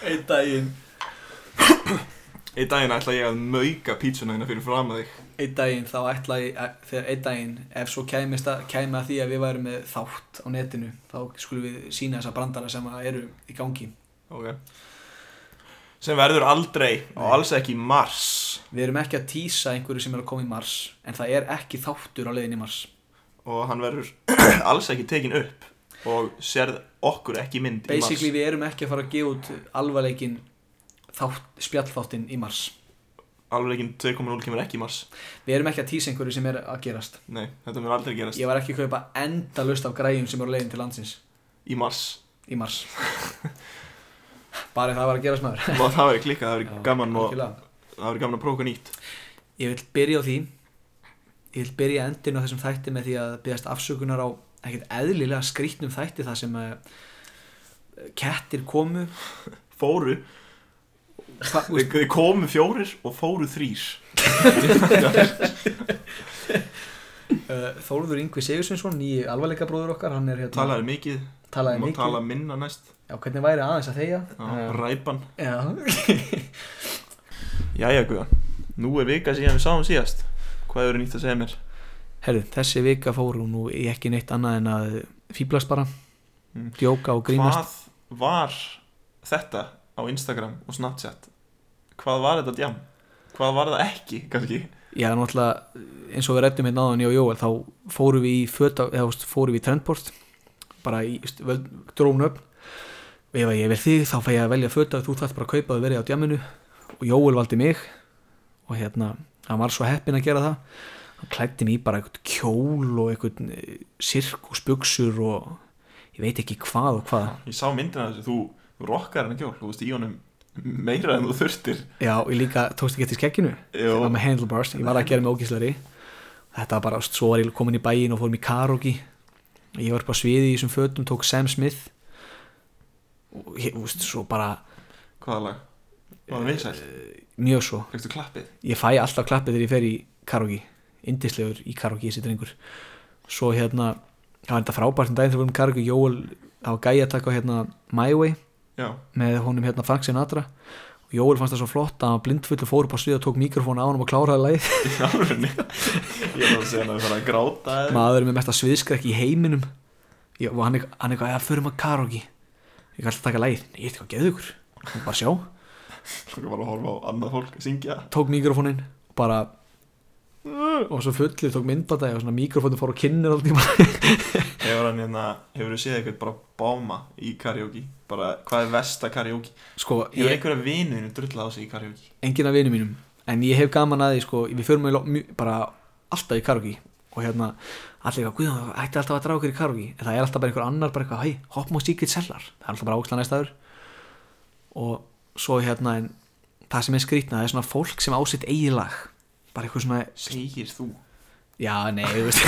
S5: Einn daginn Einn daginn ætla ég að mauka pítsuna hérna fyrir fram að þig
S3: einn daginn þá ætla ég að- þegar einn daginn ef svo kæmist að, kæmi að því að við værum með þátt á netinu þá skulum við sína þessa brandara sem að eru í gangi
S5: Ok Sem verður aldrei og alls ekki í mars
S3: við erum ekki að týsa einhverju sem er að koma í mars en það er ekki þáttur á leiðin í mars
S5: Og hann verður alls ekki tekin upp Og sérð okkur ekki í mynd í mars
S3: basically við erum ekki að fara að gefa út alvarleikin þátt, spjallþáttin í mars
S5: Alveg ekki 2.0 kemur ekki í mars
S3: við erum ekki að týsa einhverju sem er að gerast
S5: Nei, þetta mun aldrei gerast
S3: ég var ekki að kaupa endalust af græjum sem eru á leiðin til landsins
S5: Í mars
S3: í mars bara ef það var að gerast maður
S5: Og það verður klikkað, það verður gaman og
S3: Algjörlega.
S5: það verður gaman að prófa eitthvað nýtt
S3: Ég vil byrja á því Ég vil byrja endinu á þessum þætti með því að byrjast afsökunar á ekkert eðlilega skrýtnum þætti þar sem uh, kettir komu
S5: Fóru,
S3: Hva,
S5: þeir þeir komu fjórir og fóru þrýr
S3: uh, Þórður Yngvi Sigursvinsson, nýji alvarleika bróður okkar hann er hérna,
S5: Talaði mikið,
S3: talaði
S5: má
S3: mikið
S5: tala minna næst
S3: Já, hvernig væri aðeins að þegja
S5: Já, Ræpan
S3: Já,
S5: Jæja Guðan, nú er vika síðan við sáum síðast Hvað hefur nýtt að segja mér?
S3: herru, þessi vika fóru nú í ekki neitt annað en að fýblast bara
S5: Mm.
S3: djóka og grínast
S5: Hvað var þetta á Instagram og Snapchat? Hvað var þetta djam? Hvað var það ekki, kannski?
S3: Já, náttúrulega eins og við rættum hérna áðan ég og Jóel þá fórum við í föta, eða þú veist, fórum við í trendbort bara í veist, völd- drónu upp og ef að ég verð þig þá fæ ég að velja föta þú þarft bara að kaupa að verið á djaminu og Jóel valdi mig og hérna, hann var svo heppinn að gera það hann klætti mig í bara eitthvað kjól og eitthvað sirkusbuksur og ég veit ekki hvað og hvað
S5: Ég sá myndina af þessu, þú rokkar hennar kjól, þú veist í honum meira en þú þurftir
S3: Já, og ég líka tókst ekki eftir skekkinu
S5: Jú.
S3: það var með handlebars, ég var að gera mig ógíslari þetta var bara, þú veist, svo var ég komin í bæin og fórum í karaoke ég var upp á sviði í þessum fötum, tók Sam Smith og ég, þú veist, svo bara
S5: Hvaða lag? Var það vinsæl?
S3: mjög svo,
S5: Fekstu klappið?
S3: ég fæ alltaf klappið þegar ég fer í karaoke, indislegur í karaoke þessi drengur, svo hérna það var þetta frábært um daginn þegar við vorum í karaoke Jóel á gæja að taka á, hérna My Way
S5: Já
S3: með honum hérna Frank Sinatra og Jóel fannst það svo flott að hann blindfullu fór upp á svið og tók mikrofónu á honum og kláraði lagið
S5: Járunni Ég er að segja hann að fara að gráta eða-
S3: maður með mesta sviðskrekk í heiminum ég, og hann er- hann er eitthvað, eða förum að karaoke ég ætla að taka lægið, ég eitthvað geðu ykkur og bara sjá,
S5: Svo var að horfa á annað fólk að syngja
S3: tók mikrofónin og bara og svo fullið tók myndbata og svona mikrofónum fór á kinnir alltaf tíma
S5: Hefur hann hérna, hefur þú séð eitthvað bara báma í karaoke? Bara, hvað er versta karaoke?
S3: sko,
S5: Hefur
S3: ég,
S5: einhverja vinuðinu drullað á sig í karaoke?
S3: engin af vinum mínum en ég hef gaman að því sko, við förum í lo- mj- bara alltaf í karaoke og hérna allir eitthvað, guðan, ætti alltaf að draga okkur í karaoke en það er alltaf bara einhver annar, bara eitthvað, hei, hoppum á Secret Cellar það er alltaf bara áksla næstaður og svo hérna en það sem er skrýtna, það er svona fólk sem ásitt eigið lag, bara eitthvað svona
S5: Segir þú?
S3: já, nei, þú veist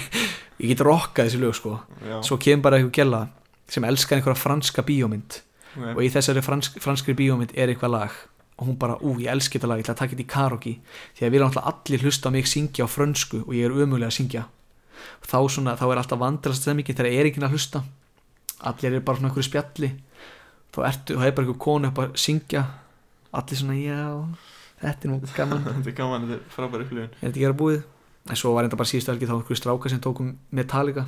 S3: ég get rokkað þessi lög sko
S5: Já,
S3: svo kemur bara eitthvað gæla sem elskar einhverja franska bíómynd og
S5: ok.
S3: í þessari fransk, franskri bíómynd er eitthvað lag og hún bara, ú, ég elski þetta lag, ég ætla að taka þetta í karaoke því að við erum alltaf allir hlusta á mig syngja á frönsku og ég er umulega að syngja og þá, svona, þá er alltaf vandrast stemmingin þegar er enginn að hlusta allir eru bara svona einhverju spjalli þá ertu, þá er bara einhver konu upp að syngja allir svona, já þetta er nú gaman,
S5: Þetta er gaman, þetta er frábæri upplifun
S3: er þetta ekki að búið en svo var enda bara síðustu helgi þá einhverju stráka sem tókum Metallica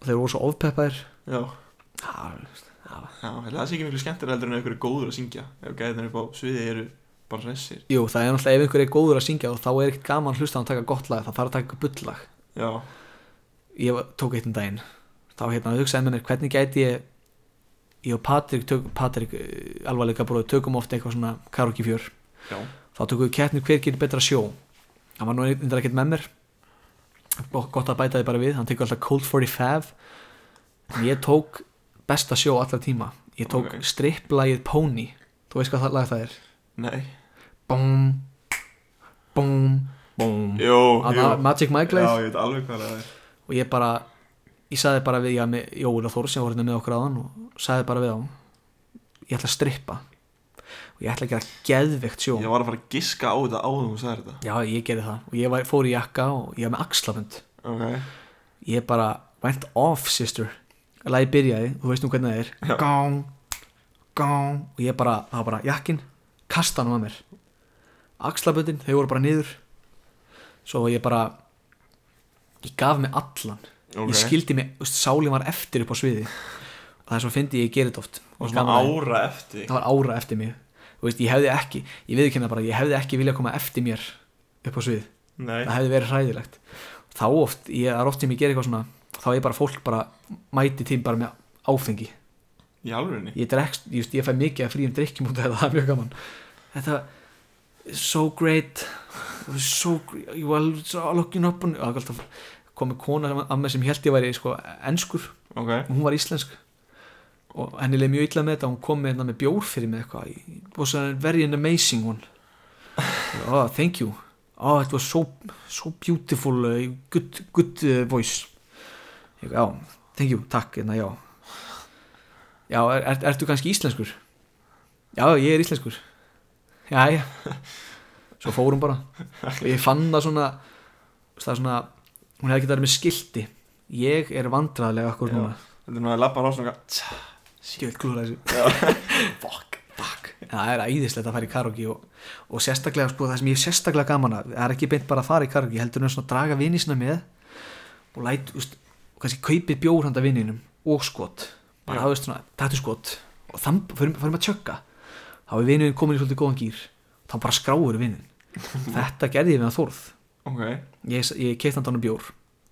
S3: og þeir voru svo ofpeppaðir
S5: Já,
S3: það var
S5: já, held að það sé ekki miklu skemmtir heldur en einhverju góður að syngja Ef gæðin upp á sviði eru bara hressir
S3: Jú, það er náttúrulega ef einhver er góður að syngja og þá er ekkert gaman að hlusta hann taka gott lag, það þarf að taka eitthvað bullag.
S5: Já,
S3: Ég var- tók eitt um daginn, þá hérna hugsaði með mér hvernig gæti ég, ég og Patrik, tök, Patrik eh, alvarleika bróðu, tökum oft eitthvað svona karaoke fjör.
S5: já,
S3: Þá tökum við keppni hver gerir betra sjó. Hann var nú einnig ekkert með mér, Go- gott að bæta því bara við, hann tekur alltaf Cold 45. En ég tók besta sjó allra tíma, ég tók
S5: Ok.
S3: okay. stripplagið Pony, þú veist hvað það lag það er?
S5: nei
S3: Bum, bum, bum.
S5: Jó,
S3: Að
S5: jó
S3: Ma- Magic Mike
S5: Mm. Já,
S3: leið
S5: ég veit alveg hvað það er
S3: og ég bara ég sagði bara við, ég með Jóel og Þór sem voru hérna með okkur aðan og sagði bara við á ég ætla að strippa og ég ætla að gera geðveikt sjó
S5: Ég var að fara að giska á þetta áður en þú sagði þetta
S3: já ég gerði það og ég var, fór í jakka og ég var með axlabönd
S5: Ok,
S3: ég bara went off sister lagi byrjaði, þú veist nú hvernig það er
S5: Já.
S3: góng, góng og ég bara, það var bara jakkin kasta hann á mér axlaböndin, þau voru bara niður svo ég bara ég gaf mig allan
S5: ok
S3: ég skildi mig, þú veist, sálin var eftir upp á sviði og það er svo fyndi ég gerði þetta oft
S5: Og
S3: gaman
S5: svona
S3: að-
S5: ára eftir
S3: það var ára eftir mig Þú veist, ég hefði ekki, ég viðkynna bara ég hefði ekki viljað koma eftir mér upp á svið
S5: Nei,
S3: það hefði verið hræðilegt þá oft, ég, það er oft sem ég ger eitthvað svona þá er bara fólk bara mæti tím bara með áfengi
S5: í alvörinni
S3: ég drekst, ég, veist, ég fæ mikið að fríum drikkjum út af þetta, það er mjög gaman þetta, so great so great you are so looking up on og alltaf komið kona af mér sem held ég væri sko, enskur
S5: Ok,
S3: og hún var íslensk og henni leið mjög illa með þetta og hún kom með, hérna með bjór fyrir mig eitthvað it was a very an amazing one oh thank you oh it was so, so beautiful uh, good, good uh, voice ég, já, thank you, takk hérna, já já, er, er, ertu kannski íslenskur já, ég er íslenskur já, já svo fór hún bara og ég fann það svona það svona, hún hefði getað verið með skilti ég er vandræðilega akkur
S5: Já.
S3: núna
S5: þetta er nú að labba ráð svona
S3: Sjöld klúra þessu Fuck, fuck Það er æðislegt að fara í karaoke og, og sérstaklega sko, það sem ég er sérstaklega gaman að það er ekki beint bara að fara í karaoke heldur en að svona draga vini sinna með og læt, úst, og kannski kaupi bjór handa vininum og skot bara það veist svona, þetta er skot og þann förum, förum að tjögga þá er vinurinn komin í svolítið góðan gýr þá bara skráur vininn þetta gerði ég við að þorð
S5: Ok,
S3: ég, ég keitt handa hann bjór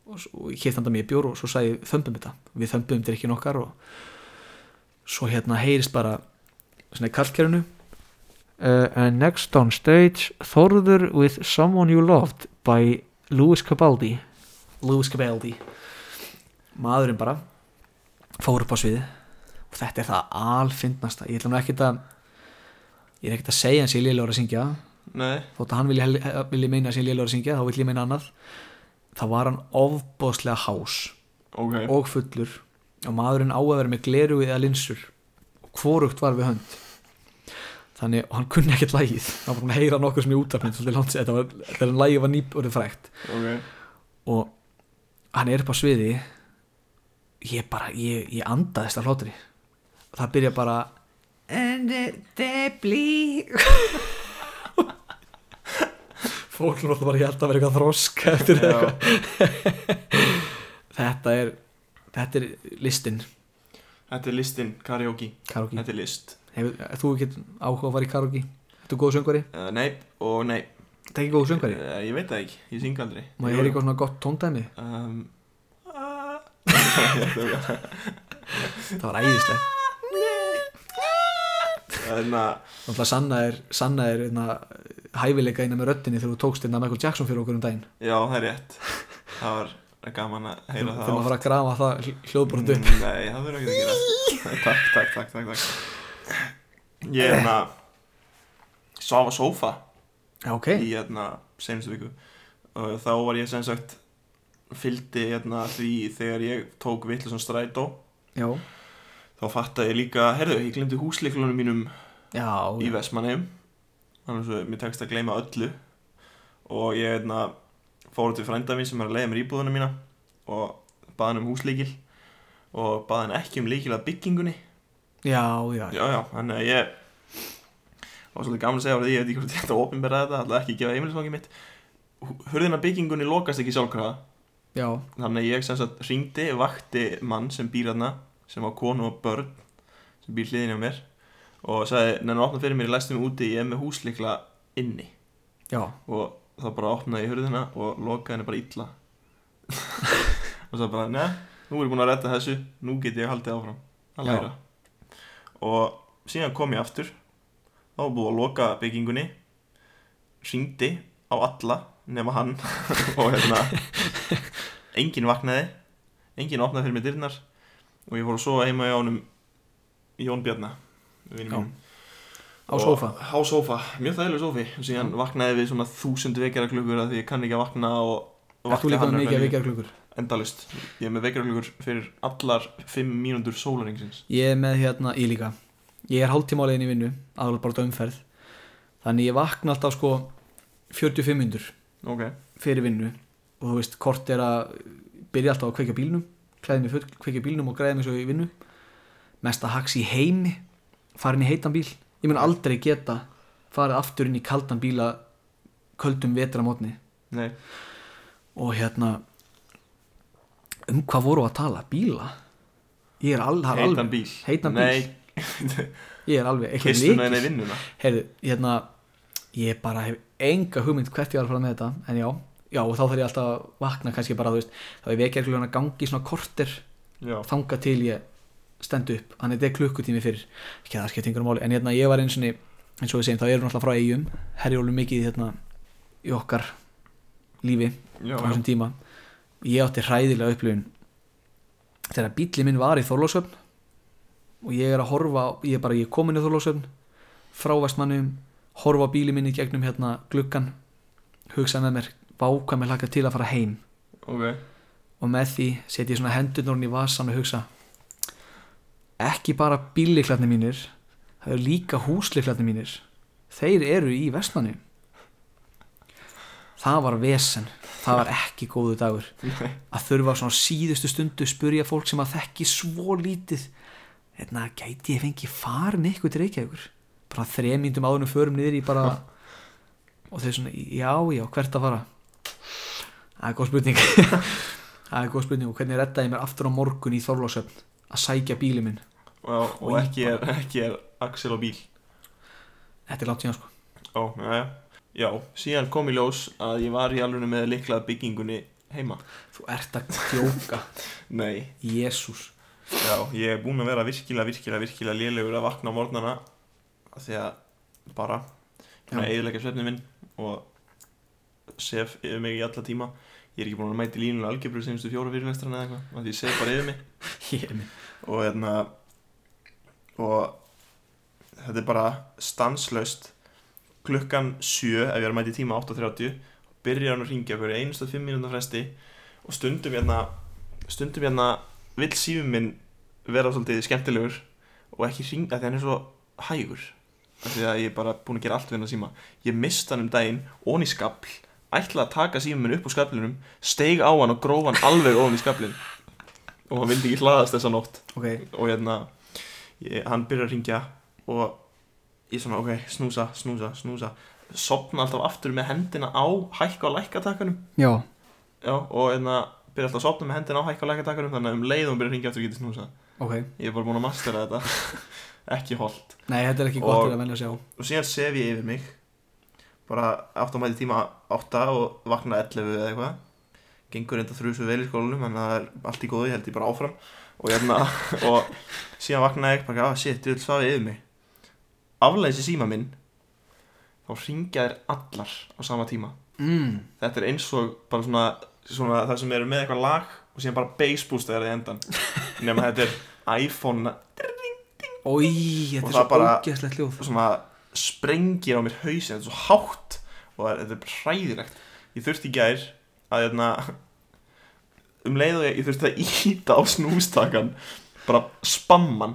S3: og, s- og ég keitt handa mér bjór og svo sagði ég, þömbum þetta við þömbum drikkin okkar og svo hérna heyrist bara svona í kallkerinu
S10: Uh, and next on stage, Þorður with Someone You Loved by Lewis Capaldi.
S3: Lewis Capaldi maðurinn bara fór upp á sviði og þetta er það alfindnasta ég ætla nú ekkert að ég er ekkert að segja hans ég lélegur að syngja
S5: nei
S3: þótt að hann vilji, hel- eh, vilji meina hans ég lélegur að syngja þá vill ég meina annað þá var hann ofbóðslega hás
S5: Ok,
S3: og fullur og maðurinn á að vera með gleru eða linsur og hvorugt var við hönd þannig og hann kunni ekkert lægið hann var búin að heyra nokkur sem ég útarpinn svolítið langt sér, þetta var, þegar hann lægið var nýbúrið frægt
S5: ok
S3: og hann er upp á sviði ég bara, ég, ég andaðist af hlátri það byrja bara
S9: And uh, there bleed
S3: fólk er náttúrulega bara ég held að vera eitthvað þroska eftir
S5: Já.
S3: eitthvað þetta er þetta er listin
S5: Þetta er listin, karaoke,
S3: karaoke,
S5: þetta er list
S3: hefur þú ekki áhuga á að fara í karaoke, þetta er góð söngvari
S5: uh, Nei Eh, og nei
S3: Það er ekki góð söngari
S5: Eh, Ég veit það ekki, ég syng aldrei
S3: Má ég er eitthvað svona gott tóndæmi
S5: um,
S3: Það var æðislega
S5: Þannig að
S3: Þannig að Sanna er, Sanna er einna, hæfileika innan með röddinni þegar þú tókst einna Michael Jackson fyrir okkur um daginn
S5: Já, það er rétt Það var gaman að heyra
S3: Þegar
S5: það
S3: maður fara að grafa það hljóðbrot upp
S5: Mm, Nei, það verður ekki að gera Takk, takk, takk, takk, takk Ég er hérna Sá á sófa
S3: Já, ok
S5: í hérna senustu viku og þá var ég sem sagt fylgdi hérna því þegar ég tók vitlusum strætó
S3: Já,
S5: þá fattaði ég líka, herðu, ég glemdi húsleiklunum mínum
S3: já,
S5: í Vestmanheim þannig að mér tekst að gleyma öllu og ég hérna fór til frænda mín sem er að leiða mér íbúðuna mína og baði hann um húsleikil og baði hann ekki um leikil að byggingunni
S3: já, já, já.
S5: já, já, þannig að ég var svolítið gaman að segja frá því, ég veit ekki hvort ég ætti að opinbera þetta alltaf ekki að gefa heimilisvangi mitt hurðina byggingunni lokast ekki sjálfkrafa
S3: já.
S5: þannig að ég sem sagt ringdi vakti mann sem býr þarna sem var konu og börn sem býr hliðinni á mér og sagði, neina opna fyrir mér, ég læsti mig úti ég er með húsleikla inni
S3: já.
S5: og þá bara opnaði ég hurðina og lokaði henni bara illa og svo bara, neða, nú er ég búin að retta þessu nú get ég haldið áfram að
S3: Já.
S5: læra og síðan kom ég aftur þá var búið að loka byggingunni ringdi á alla nema hann og hérna enginn vaknaði enginn opnaði fyrir mig dyrnar og ég fór að sofa heima hjá honum Jón Bjarna vinur
S3: Já.
S5: mínum.
S3: Á
S5: Og-
S3: sófa
S5: á sófa, mjög þægileg sófi og síðan vaknaði við svona þúsund vekjara klukkur því ég kann ekki að vakna og
S3: Er þú
S5: vaknaði
S3: líka
S5: hann
S3: með mikið að
S5: örugglega
S3: vikja klukkur?
S5: líka endalaust, ég er með vekjara klukkur fyrir allar fimm mínúndur sólaringsins
S3: Ég er með hérna, ég líka Ég er hálftíma á leiðin í vinnu, aðalega bara út á umferð Þannig ég vakna alltaf sko 45 minnur
S5: ok,
S3: fyrir vinnu og þú veist, kort er að byrja alltaf að kveikja bílnum klæði mig full, kveikja bílnum og græði mig svo í vinnu mesta haks í heimi farin í heitan bíl ég mun aldrei geta farið aftur inn í kaldan bíla köldum vetramótni
S5: nei,
S3: og hérna um hvað voru að tala? Bíla? Ég er al, það er
S5: heitan
S3: alveg,
S5: bíl
S3: heitan bíl
S5: nei,
S3: ég er alveg eitthvað
S5: kistuna
S3: lykill.
S5: henni vinnuna
S3: Heyrðu, hérna, ég bara hef enga hugmynd hvert ég var að fara með þetta, en já, já, og þá þarf ég alltaf að vakna kannski bara, þú veist, þá ég vekja klukkan að gangi svona korter,
S5: já,
S3: þanga til ég stend upp, hann er þetta er klukkutími fyrir, ekki að það skipti einhverjum máli, en hérna, ég var eins og eins og við segjum, þá erum við alltaf frá eigum, herjólu mikið, hérna, í okkar lífi,
S5: já,
S3: á
S5: já.
S3: þessum tíma ég átti hræðilega upplifun þegar bíli minn var í Þorlósöfn og ég er að horfa ég er bara, ég er komin í Þorlósöfn frá vestmannum, horfa bíli minn í gegnum hérna gluggan hugsa með mér, vákvæm er laka til að fara heim
S5: ok,
S3: og með því setja ég svona hendurnorn í vasan og hugsa ekki bara bílliklarnir mínir það eru líka húsliklarnir mínir þeir eru í vestmanni það var vesen það var ekki góðu dagur að þurfa á svona síðustu stundu spurja fólk sem að þekki svo lítið hérna gæti ég fengi farin ykkur til Reykjavíkur bara þremyndum áðunum förum niður í bara og þau svona, já, já, hvert að fara það er góð spurning Það er góð spurning og hvernig reddaði ég mér aftur á morgun í Þorlásöfn að sækja bíli minn
S5: og, og ekki er, ekki er Axel og bíl
S3: Þetta er látt síðan sko
S5: ó, já, já já, síðan kom í ljós að ég var í alveg með liklað byggingunni heima
S3: Þú ert að djóka
S5: nei,
S3: Jésús
S5: Já, ég er búinn að vera virkilega, virkilega, virkilega lélegur að vakna á morgnana af því að bara svona
S3: Já.
S5: eiginlega svefni minn og sef yfir mig í alla tíma ég er ekki búinn að mæti línulega algebru semstu fjóra fyrirlestrana eða eitthvað af því ég sef bara yfir mig
S3: Ég er minn
S5: og hérna og þetta er bara stanslaust klukkan 7 ef ég er að mæti tíma 8.30 byrjar hann að ringja okkur einustu 5 minúna fresti og stundum hérna stundum hérna vill sífum minn vera svolítið skemmtilegur og ekki ringja því hann er svo hægur af því að ég er bara búin að gera allt við hann að síma ég mista hann um daginn, ón í skabl ætla að taka sífum minn upp úr skablinum steig á hann og gróf hann alveg ofan í skablin og hann vildi ekki hlaðast þessa nótt
S3: Ok,
S5: og hérna ég, hann byrjar að ringja og ég svona ok, snúsa, snúsa, snúsa sopna alltaf aftur með hendina á hækka og lækkatakkanum
S3: já
S5: já, og hérna byrja alltaf að sopna með hendina á hækka og lækkatakkanum þannig að um leið og hann byrjar að ringja aftur getið snúsa
S3: Ok
S5: ég er bara búin að mastera þetta ekki holdt
S3: Nei, þetta er ekki gott
S5: Og-
S3: til að velja að sjá
S5: og síðan sef ég yfir mig bara átt að mæti tíma 8 og vakna 11 eða eitthvað gengur reynda þrjúsu vel í skólanum en það er allt í góðu, ég held ég bara áfram og, hérna, og síðan vaknaði ég bara, ah, shit, ég vil svafi yfir mig aflæðis í síma minn þá ringja þér allar á sama tíma
S3: mm.
S5: þetta er eins og bara svona, svona það sem eru með eitthvað lag og síðan bara bass boost þegar í endan nema þetta er iPhone
S3: Ói, þetta er
S5: Og það
S3: svo
S5: bara-
S3: ógeðslegt ljóð
S5: svona sprengir á mér hausin þetta er svo hátt og það er- þetta er bara hræðilegt ég þurfti í gær að hérna, um leið og ég, ég þurfti að íta á snústakan bara spamman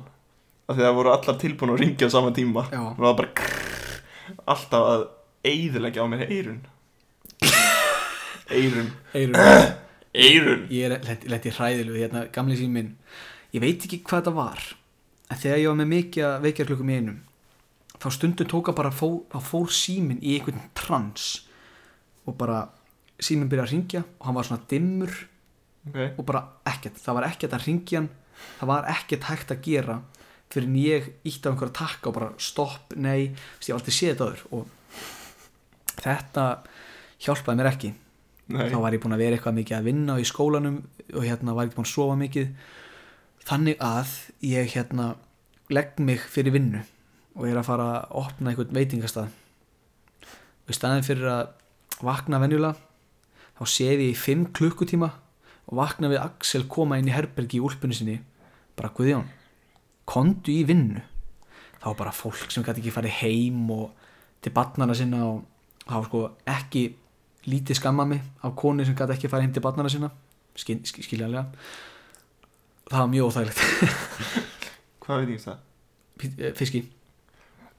S5: af því að það voru allar tilbúin að ringja á sama tíma
S3: Já.
S5: og það var bara krrr, alltaf að eyðilegja á mér eyrun eyrun
S3: Eyrun,
S5: eyrun
S3: ég er lett- lett í hræðilegu hérna, gamli sín minn ég veit ekki hvað þetta var en þegar ég var með mikið að vekja klukkum í einum þá stundum tók að bara fó, að fór síminn í einhvern trans og bara síminn byrjaði að ringja og hann var svona dimmur
S5: okay.
S3: og bara ekkert, það var ekkert að ringja hann það var ekkert hægt að gera fyrir en ég ítti á einhverja takka og bara stopp, nei, þú veist, ég valdi séð þetta aður og þetta hjálpaði mér ekki
S5: Nei.
S3: þá var ég búin að vera eitthvað mikið að vinna í skólanum og hérna var ekki búin að sofa mikið þannig að ég hérna legg mig fyrir vinnu og er að fara að opna einhvern veitingastað og í staðin fyrir að vakna venjulega þá séð ég í 5 klukkutíma og vakna við Axel koma inn í herbergi í úlpunni sinni bara Guðjón, kondu í vinnu þá var bara fólk sem gæti ekki farið heim og til barnana sinna og það var sko ekki lítið skamma mig af konu sem gæti ekki farið heim til barnana sinna skil, skil, skiljanlega það var mjög óþægilegt eh,
S5: hvað veit ég um það?
S3: fiski,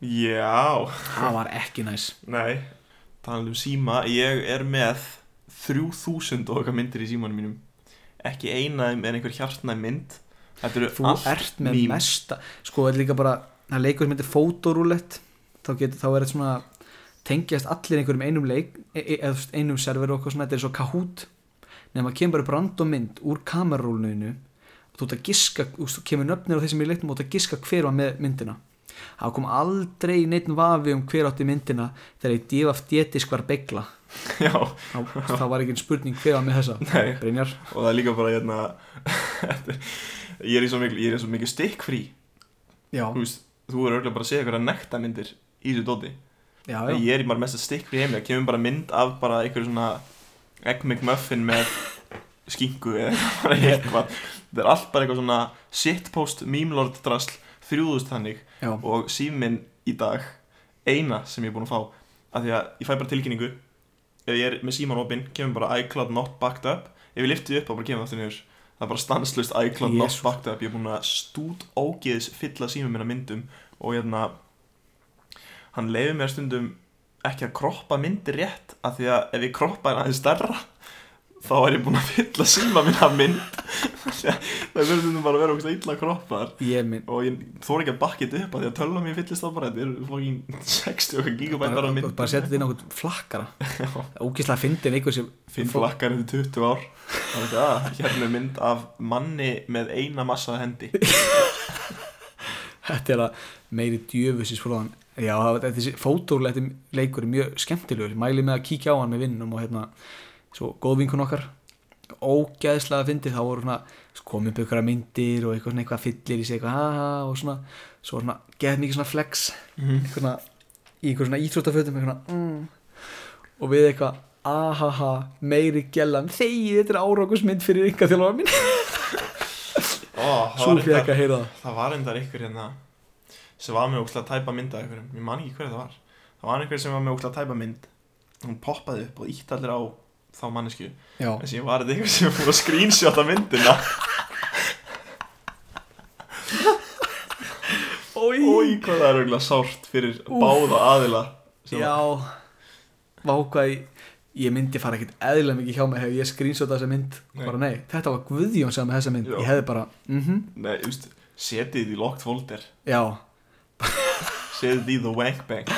S5: já
S3: það var ekki næs
S5: Nei, talað um síma Ég er með 3000 og okkar myndir í símanum mínum Ekki eina af þeim er einhver hjartnæð mynd Þetta eru
S3: þú
S5: allt
S3: ert með
S5: mím.
S3: mesta sko, þetta er líka bara, það leikur sem heitir fótorúlett þá, getur- þá er þetta svona tengjast allir einhverjum einum leik e- e- eða þú veist, einum server og eitthvað svona, þetta er svo kahút nema kemur bara upp random mynd úr kamerarúlnuðinu og þú ert að giska, þú veist, þú kemur nöfnir á þessum í leiknum og þú ert að giska hver var með myndina það kom aldrei neitt vafi um hver átti myndina þegar ég divaf dietisk var begla
S5: Já.
S3: þá, þá var ekki spurning hver var með þessa
S5: Nei.
S3: Brynjar
S5: Og það er líka bara hérna þetta er- Ég er í svo mikil, ég er í svo mikil stikkfrí
S3: Já,
S5: Þú veist, þú er örgulega bara að segja eitthvað nekta myndir í þessu dóti
S3: já, já.
S5: Ég er í bara mest að stikkfrí heim Það kemur bara mynd af bara einhver svona Egg McMuffin með skinku eða bara eitthvað Þetta er allt bara eitthvað svona shitpost meme-lord drasl þrjúðust þannig
S3: já.
S5: og síminn í dag eina sem ég er búin að fá af því að ég fæ bara tilkynningu ef ég er með síman opinn, kemur bara iCloud not backed up ef ég lyfti upp þá bara kemur það aftur niður það er bara stanslust iCloud
S3: Jesus.
S5: not backed up ég er búin að stút ógeðis fylla símum minna myndum og hérna hann leiði mér stundum ekki að kroppa myndir rétt af því að ef ég kroppa hann aðeins stærra þá er ég búin að fylla síma minna mynd það verður stundum bara að vera okkur illa kroppar
S3: Ég minn
S5: og ég þóra ekki að bakka þetta upp af því að tölva mér fyllist það bara þetta eru fucking 60 okkar
S3: bara,
S5: gigabætar á
S3: bara,
S5: mynd
S3: bara setja þetta inn á einhvern flakkara ógislega fyndin einhver sem
S5: finn flakkar eftir 20 ár og þetta, að, hérna er mynd af manni með eina massa hendi
S3: þetta er að meiri djöfusis fróðan já, það- þessi fótórleiti leikur er mjög skemmtilegur, mæli með að kíkja á hann með vinnum og hérna, svo góð vinkun okkar ógeðslega fyndið þá voru svona, komið upp ykkur myndir og eitthvað svona eitthvað fyllir í sig eitthvað ha, ha, og svona, svo var svona, geð mikið svona flex
S5: Mhm.
S3: eitthvað svona, í eitthvað svona íþróttafötum, eitthvað svona mm. og við eitthvað, ahaha meiri gellan, þegi þetta er árákusmynd fyrir yngar þjálfara minn
S5: Ó, það
S3: svo
S5: var
S3: fyrir
S5: reyndar-
S3: ekki að heyra það
S5: það var endar einhver hérna sem var með úkslega tæpa mynd af einhverjum ég man ekki hver það var það var einhver sem var með úkslega tæpa mynd hún poppaði upp og ítt allir á þá mannesku
S3: já,
S5: en síðan var þetta einhver sem fór að screenshota myndina Ói, hvað það er auðvitað sárt fyrir báða aðila sem-
S3: Já Vákvæði Ég myndi fara ekkert eðlilega mikið hjá mig Hefur ég screenshotað þessa mynd
S5: Nei.
S3: Bara nei, þetta var Guðjón sem með þessa mynd
S5: Já.
S3: Ég hefði bara, mhm,
S5: Nei, þú veist, setið þið í locked folder
S3: já
S5: Setið þið í the wank bank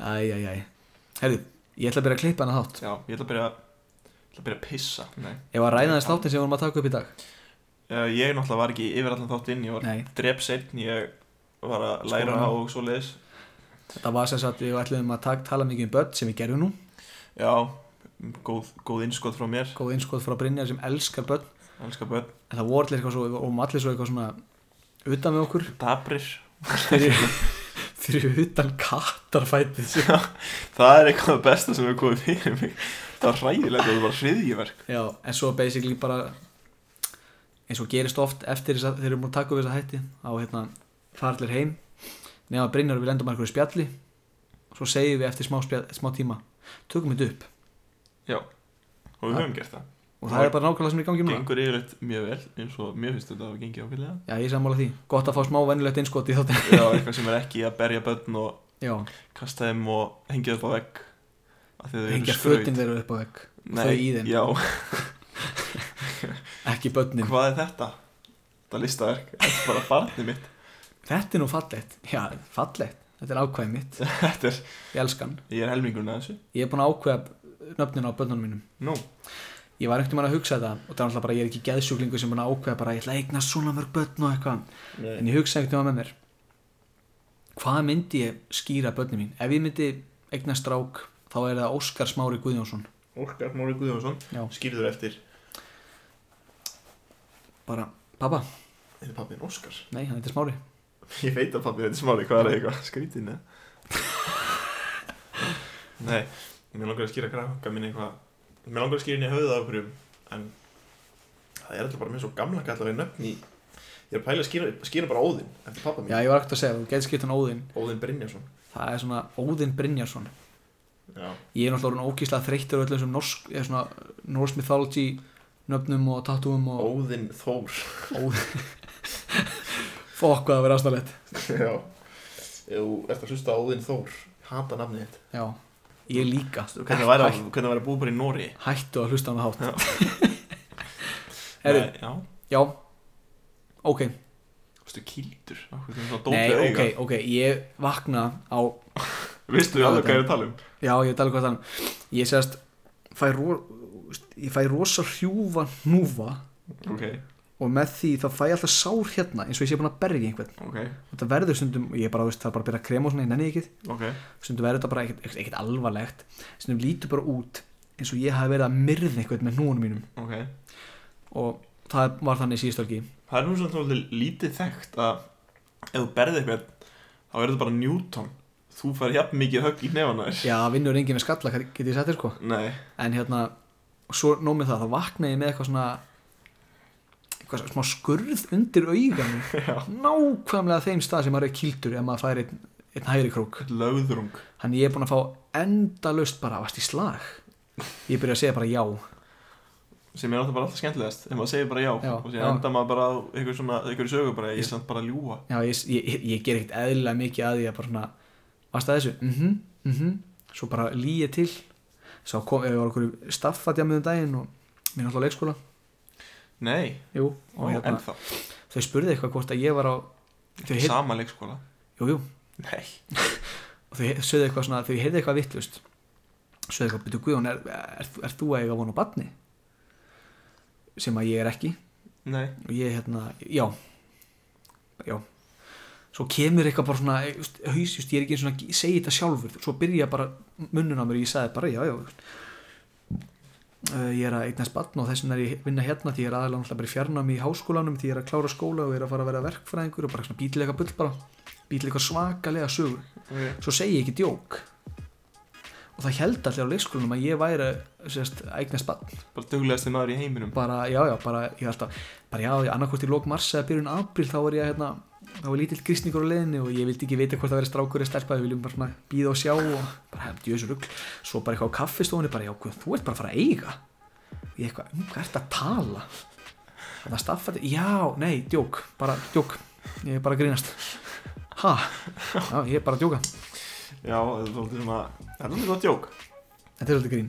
S3: Æ, æ, æ Herðu, ég ætla að byrja að klippa hana þátt
S5: Já, ég ætla að byrja Ég ætla að byrja að pissa Nei
S3: Ég var að ræða þess þáttin sem við vorum að taka upp í dag
S5: uh, Ég náttúrulega var ekki yfir allan þátt inn Ég var
S3: Nei.
S5: drepseitt Ég var að læra
S3: Skólanum.
S5: og svo leiðis
S3: Þetta var sem sagt, við ætlum að tak, tala mikið um börn sem við gerum nú
S5: Já, góð, góð innskot frá mér
S3: Góð einskot frá Brynjar sem elskar börn
S5: Elskar börn,
S3: En það voru allir eitthvað svo, og allir svo eitthvað svona utan við okkur
S5: dabrir
S3: fyrir, fyrir utan kattarfætið
S5: Það er eitthvað það besta sem hefur komið fyrir mig Það var hræðilegt og það var hriðjiverk
S3: Já, en svo basically bara eins og gerist oft eftir þess að þeir eru múin að taka við þessa hætti á hérna farlir heim nema Brynjar og við lendum að einhverju spjalli svo segjum við eftir smá, spjall, smá tíma tökum þetta upp
S5: Og við höfum gert það
S3: og það er bara nákvæmlega sem er í gangi núna
S5: Gengur yfirleitt mjög vel eins og mér finnst þetta að hafa gengið ákveðlega
S3: Já, ég er sammála því, gott að fá smá venjulegt innskot í þáttin
S5: Já, eitthvað sem er ekki að berja börn og
S3: Já,
S5: kasta þeim og hengja upp á vegg af því að þau eru
S3: hengja
S5: skraut.
S3: fötin þeirra upp á vegg
S5: Nei,
S3: þau í þeim.
S5: Já,
S3: ekki börnin
S5: hvað er þetta? Þetta listaverk, þetta er bara barnið mitt
S3: Þetta er nú fallegt, já, fallegt Þetta er ákvæðið mitt,
S5: Þetta er,
S3: ég elskan
S5: ég er helmingurinn að þessu
S3: Ég er búin að ákveða nöfnin á börnunum mínum
S5: Nú,
S3: Ég var einhvern veginn að hugsa þetta og það er alltaf bara, ég er ekki geðsjúklingu sem búin að ákveða bara, ég ætla að eigna svona mörg börn og eitthvað
S5: Nei.
S3: en ég hugsa einhvern veginn með mér hvað myndi ég skýra börnum mín ef ég myndi eigna strák þá er það Óskar Smári Guðjónsson
S5: Óskar Mári Guðjónsson
S3: Já.
S5: Skýrður eftir
S3: bara, pappa,
S5: Þetta er pappin Óskar
S3: nei, hann heitir Smári
S5: Ég veit að pappin heitir Smári, hvað er það eitthvað? Skrítin eða? Nei, mér langar að skýra krakka mín eitthvað Mér langar að skýra henni í höfuð af okkur En það er alltaf bara með svo gamla kallar við nöfn í Ég er að pæla að skýra, skýra bara Óðinn Eftir pappa mín
S3: já, ég var ekkert að segja, þú getur skipt hann Óðinn
S5: Óðinn Brynjarsson
S3: það er svona Óðinn Brynjarsson
S5: Já
S3: ég er náttúrulega orðinn ógíslega þreyttur á öllum sem norsk, eða svona norsk mythology nöfnum og tattúum og
S5: Óðinn Þór
S3: Óðinn fokk hvað það verið aðstæðlegt
S5: Já Ef Þú ert að hlusta á Óðinn Þór Hata nafnið þitt
S3: já, ég líka
S5: Hvernig væri að- hvernig væri að búa bara í Nóri
S3: hættu að hlusta á hann hátt Herru,
S5: Já
S3: já ok,
S5: Vistu kýldur? Akkur þeim svona
S3: Nei,
S5: dópið auga
S3: ok, ok, ég vakna á,
S5: Vistu alveg hvað ég er að tala um?
S3: já, ég tala hvað þannig, ég segast, fæ ro, ég fæ rosa hrjúfa hnúfa
S5: Ok,
S3: og með því þá fæ ég alltaf sár hérna eins og ég sé búin að berja einhvern
S5: ok,
S3: og þetta verður stundum, ég bara, veist, það er bara að byrja að krema og svona, ég nenni því ekki,
S5: ok
S3: stundum verður þetta bara ekkert, ekkert, ekkert alvarlegt, stundum lítur bara út eins og ég hafi verið að myrða einhvern með hnúanum mínum
S5: Ok
S3: og það var þannig síðustölki,
S5: Það er nú svona svolítið lítið þekkt að ef þú berði eitthvað þá er þetta bara Newton Þú fær jafn mikið högg í nefana þér
S3: já, vinnur engin með skalla, get ég sagt þér sko,
S5: Nei,
S3: en hérna og svo nómið það, þá vaknaði ég með eitthvað svona eitthvað smá skurð undir auganu nákvæmlega þeim stað sem maður er kildur ef maður fær einn, einn hægri krók
S5: löðrung
S3: hann ég er búin að fá endalaust bara vast í slag ég byrja að segja bara já
S5: sem er alltaf bara alltaf skemmtilegast ef maður segir bara já,
S3: Já,
S5: og sér
S3: já.
S5: enda maður bara á einhver svona, einhver sögu bara ég er samt bara að ljúa
S3: já, ég, ég, ég- ég ger ekkert eðlilega mikið að því að bara svona vast að þessu, mhm, mhm svo bara líið til svo kom, ég var okkur staffatjamið um daginn og mér náttúrulega á leikskóla
S5: Nei,
S3: Jú,
S5: og
S3: og hérna,
S5: ennþá,
S3: þau spurði eitthvað hvort að ég var á þau
S5: Heyr...
S3: heyrðu-
S5: sama leikskóla
S3: jú, jú,
S5: Nei,
S3: og þau sögðu eitthvað svona þegar ég heyrði eitthvað vittlust sögðu eitthvað, byrju Guðjón, er, er, er þú að eiga von á batni? sem að ég er ekki
S5: nei,
S3: og ég hérna, já já svo kemur eitthvað bara svona eh, veist, haus, just, ég er ekki eins og svona, segi þetta sjálfur svo byrja bara munnun á mér, ég sagði bara já, já veist. Eh, ég er að eignast batn og þess vegna er ég að vinna hérna því ég er aðalega náttúrulega bara í fjarnámi í háskólanum því ég er að klára skóla og ég er að fara að vera verkfræðingur og bara svona bítilega bull bara bítilega svakalega sögur
S5: okay.
S3: svo segi ég ekki djók og það held allir á leikskólanum að ég væri sérst, eignast bann
S5: bara duglegasti maður í heiminum
S3: bara, já, já, bara, ég held að bara, já, ég annarkvort í lók mars eða byrjun april þá var ég, hérna, þá var lítill grísningur á leiðinni og ég vildi ekki vita hvort það verið strákur eða stelpa, við viljum bara svona býða og sjá og bara, hefði, jössu rugl, svo bara eitthvað á kaffistofunni, bara, já, guð, þú ert bara að fara að eiga ég eitthvað, um, hvað ert að tala þannig að staffat já, nei, djók, bara, djók ég er bara að grínast ha, já, ég er bara að djóka
S5: Já, þetta er svolítið svona, þetta er svolítið gott jók
S3: þetta er alltaf grín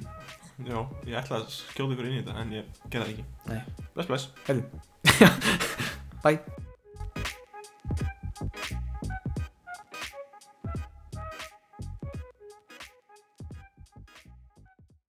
S5: Já, ég ætla að skjóta ykkur inn í þetta en ég gerði það ekki
S3: Nei.
S5: Bless, bless
S3: Bye.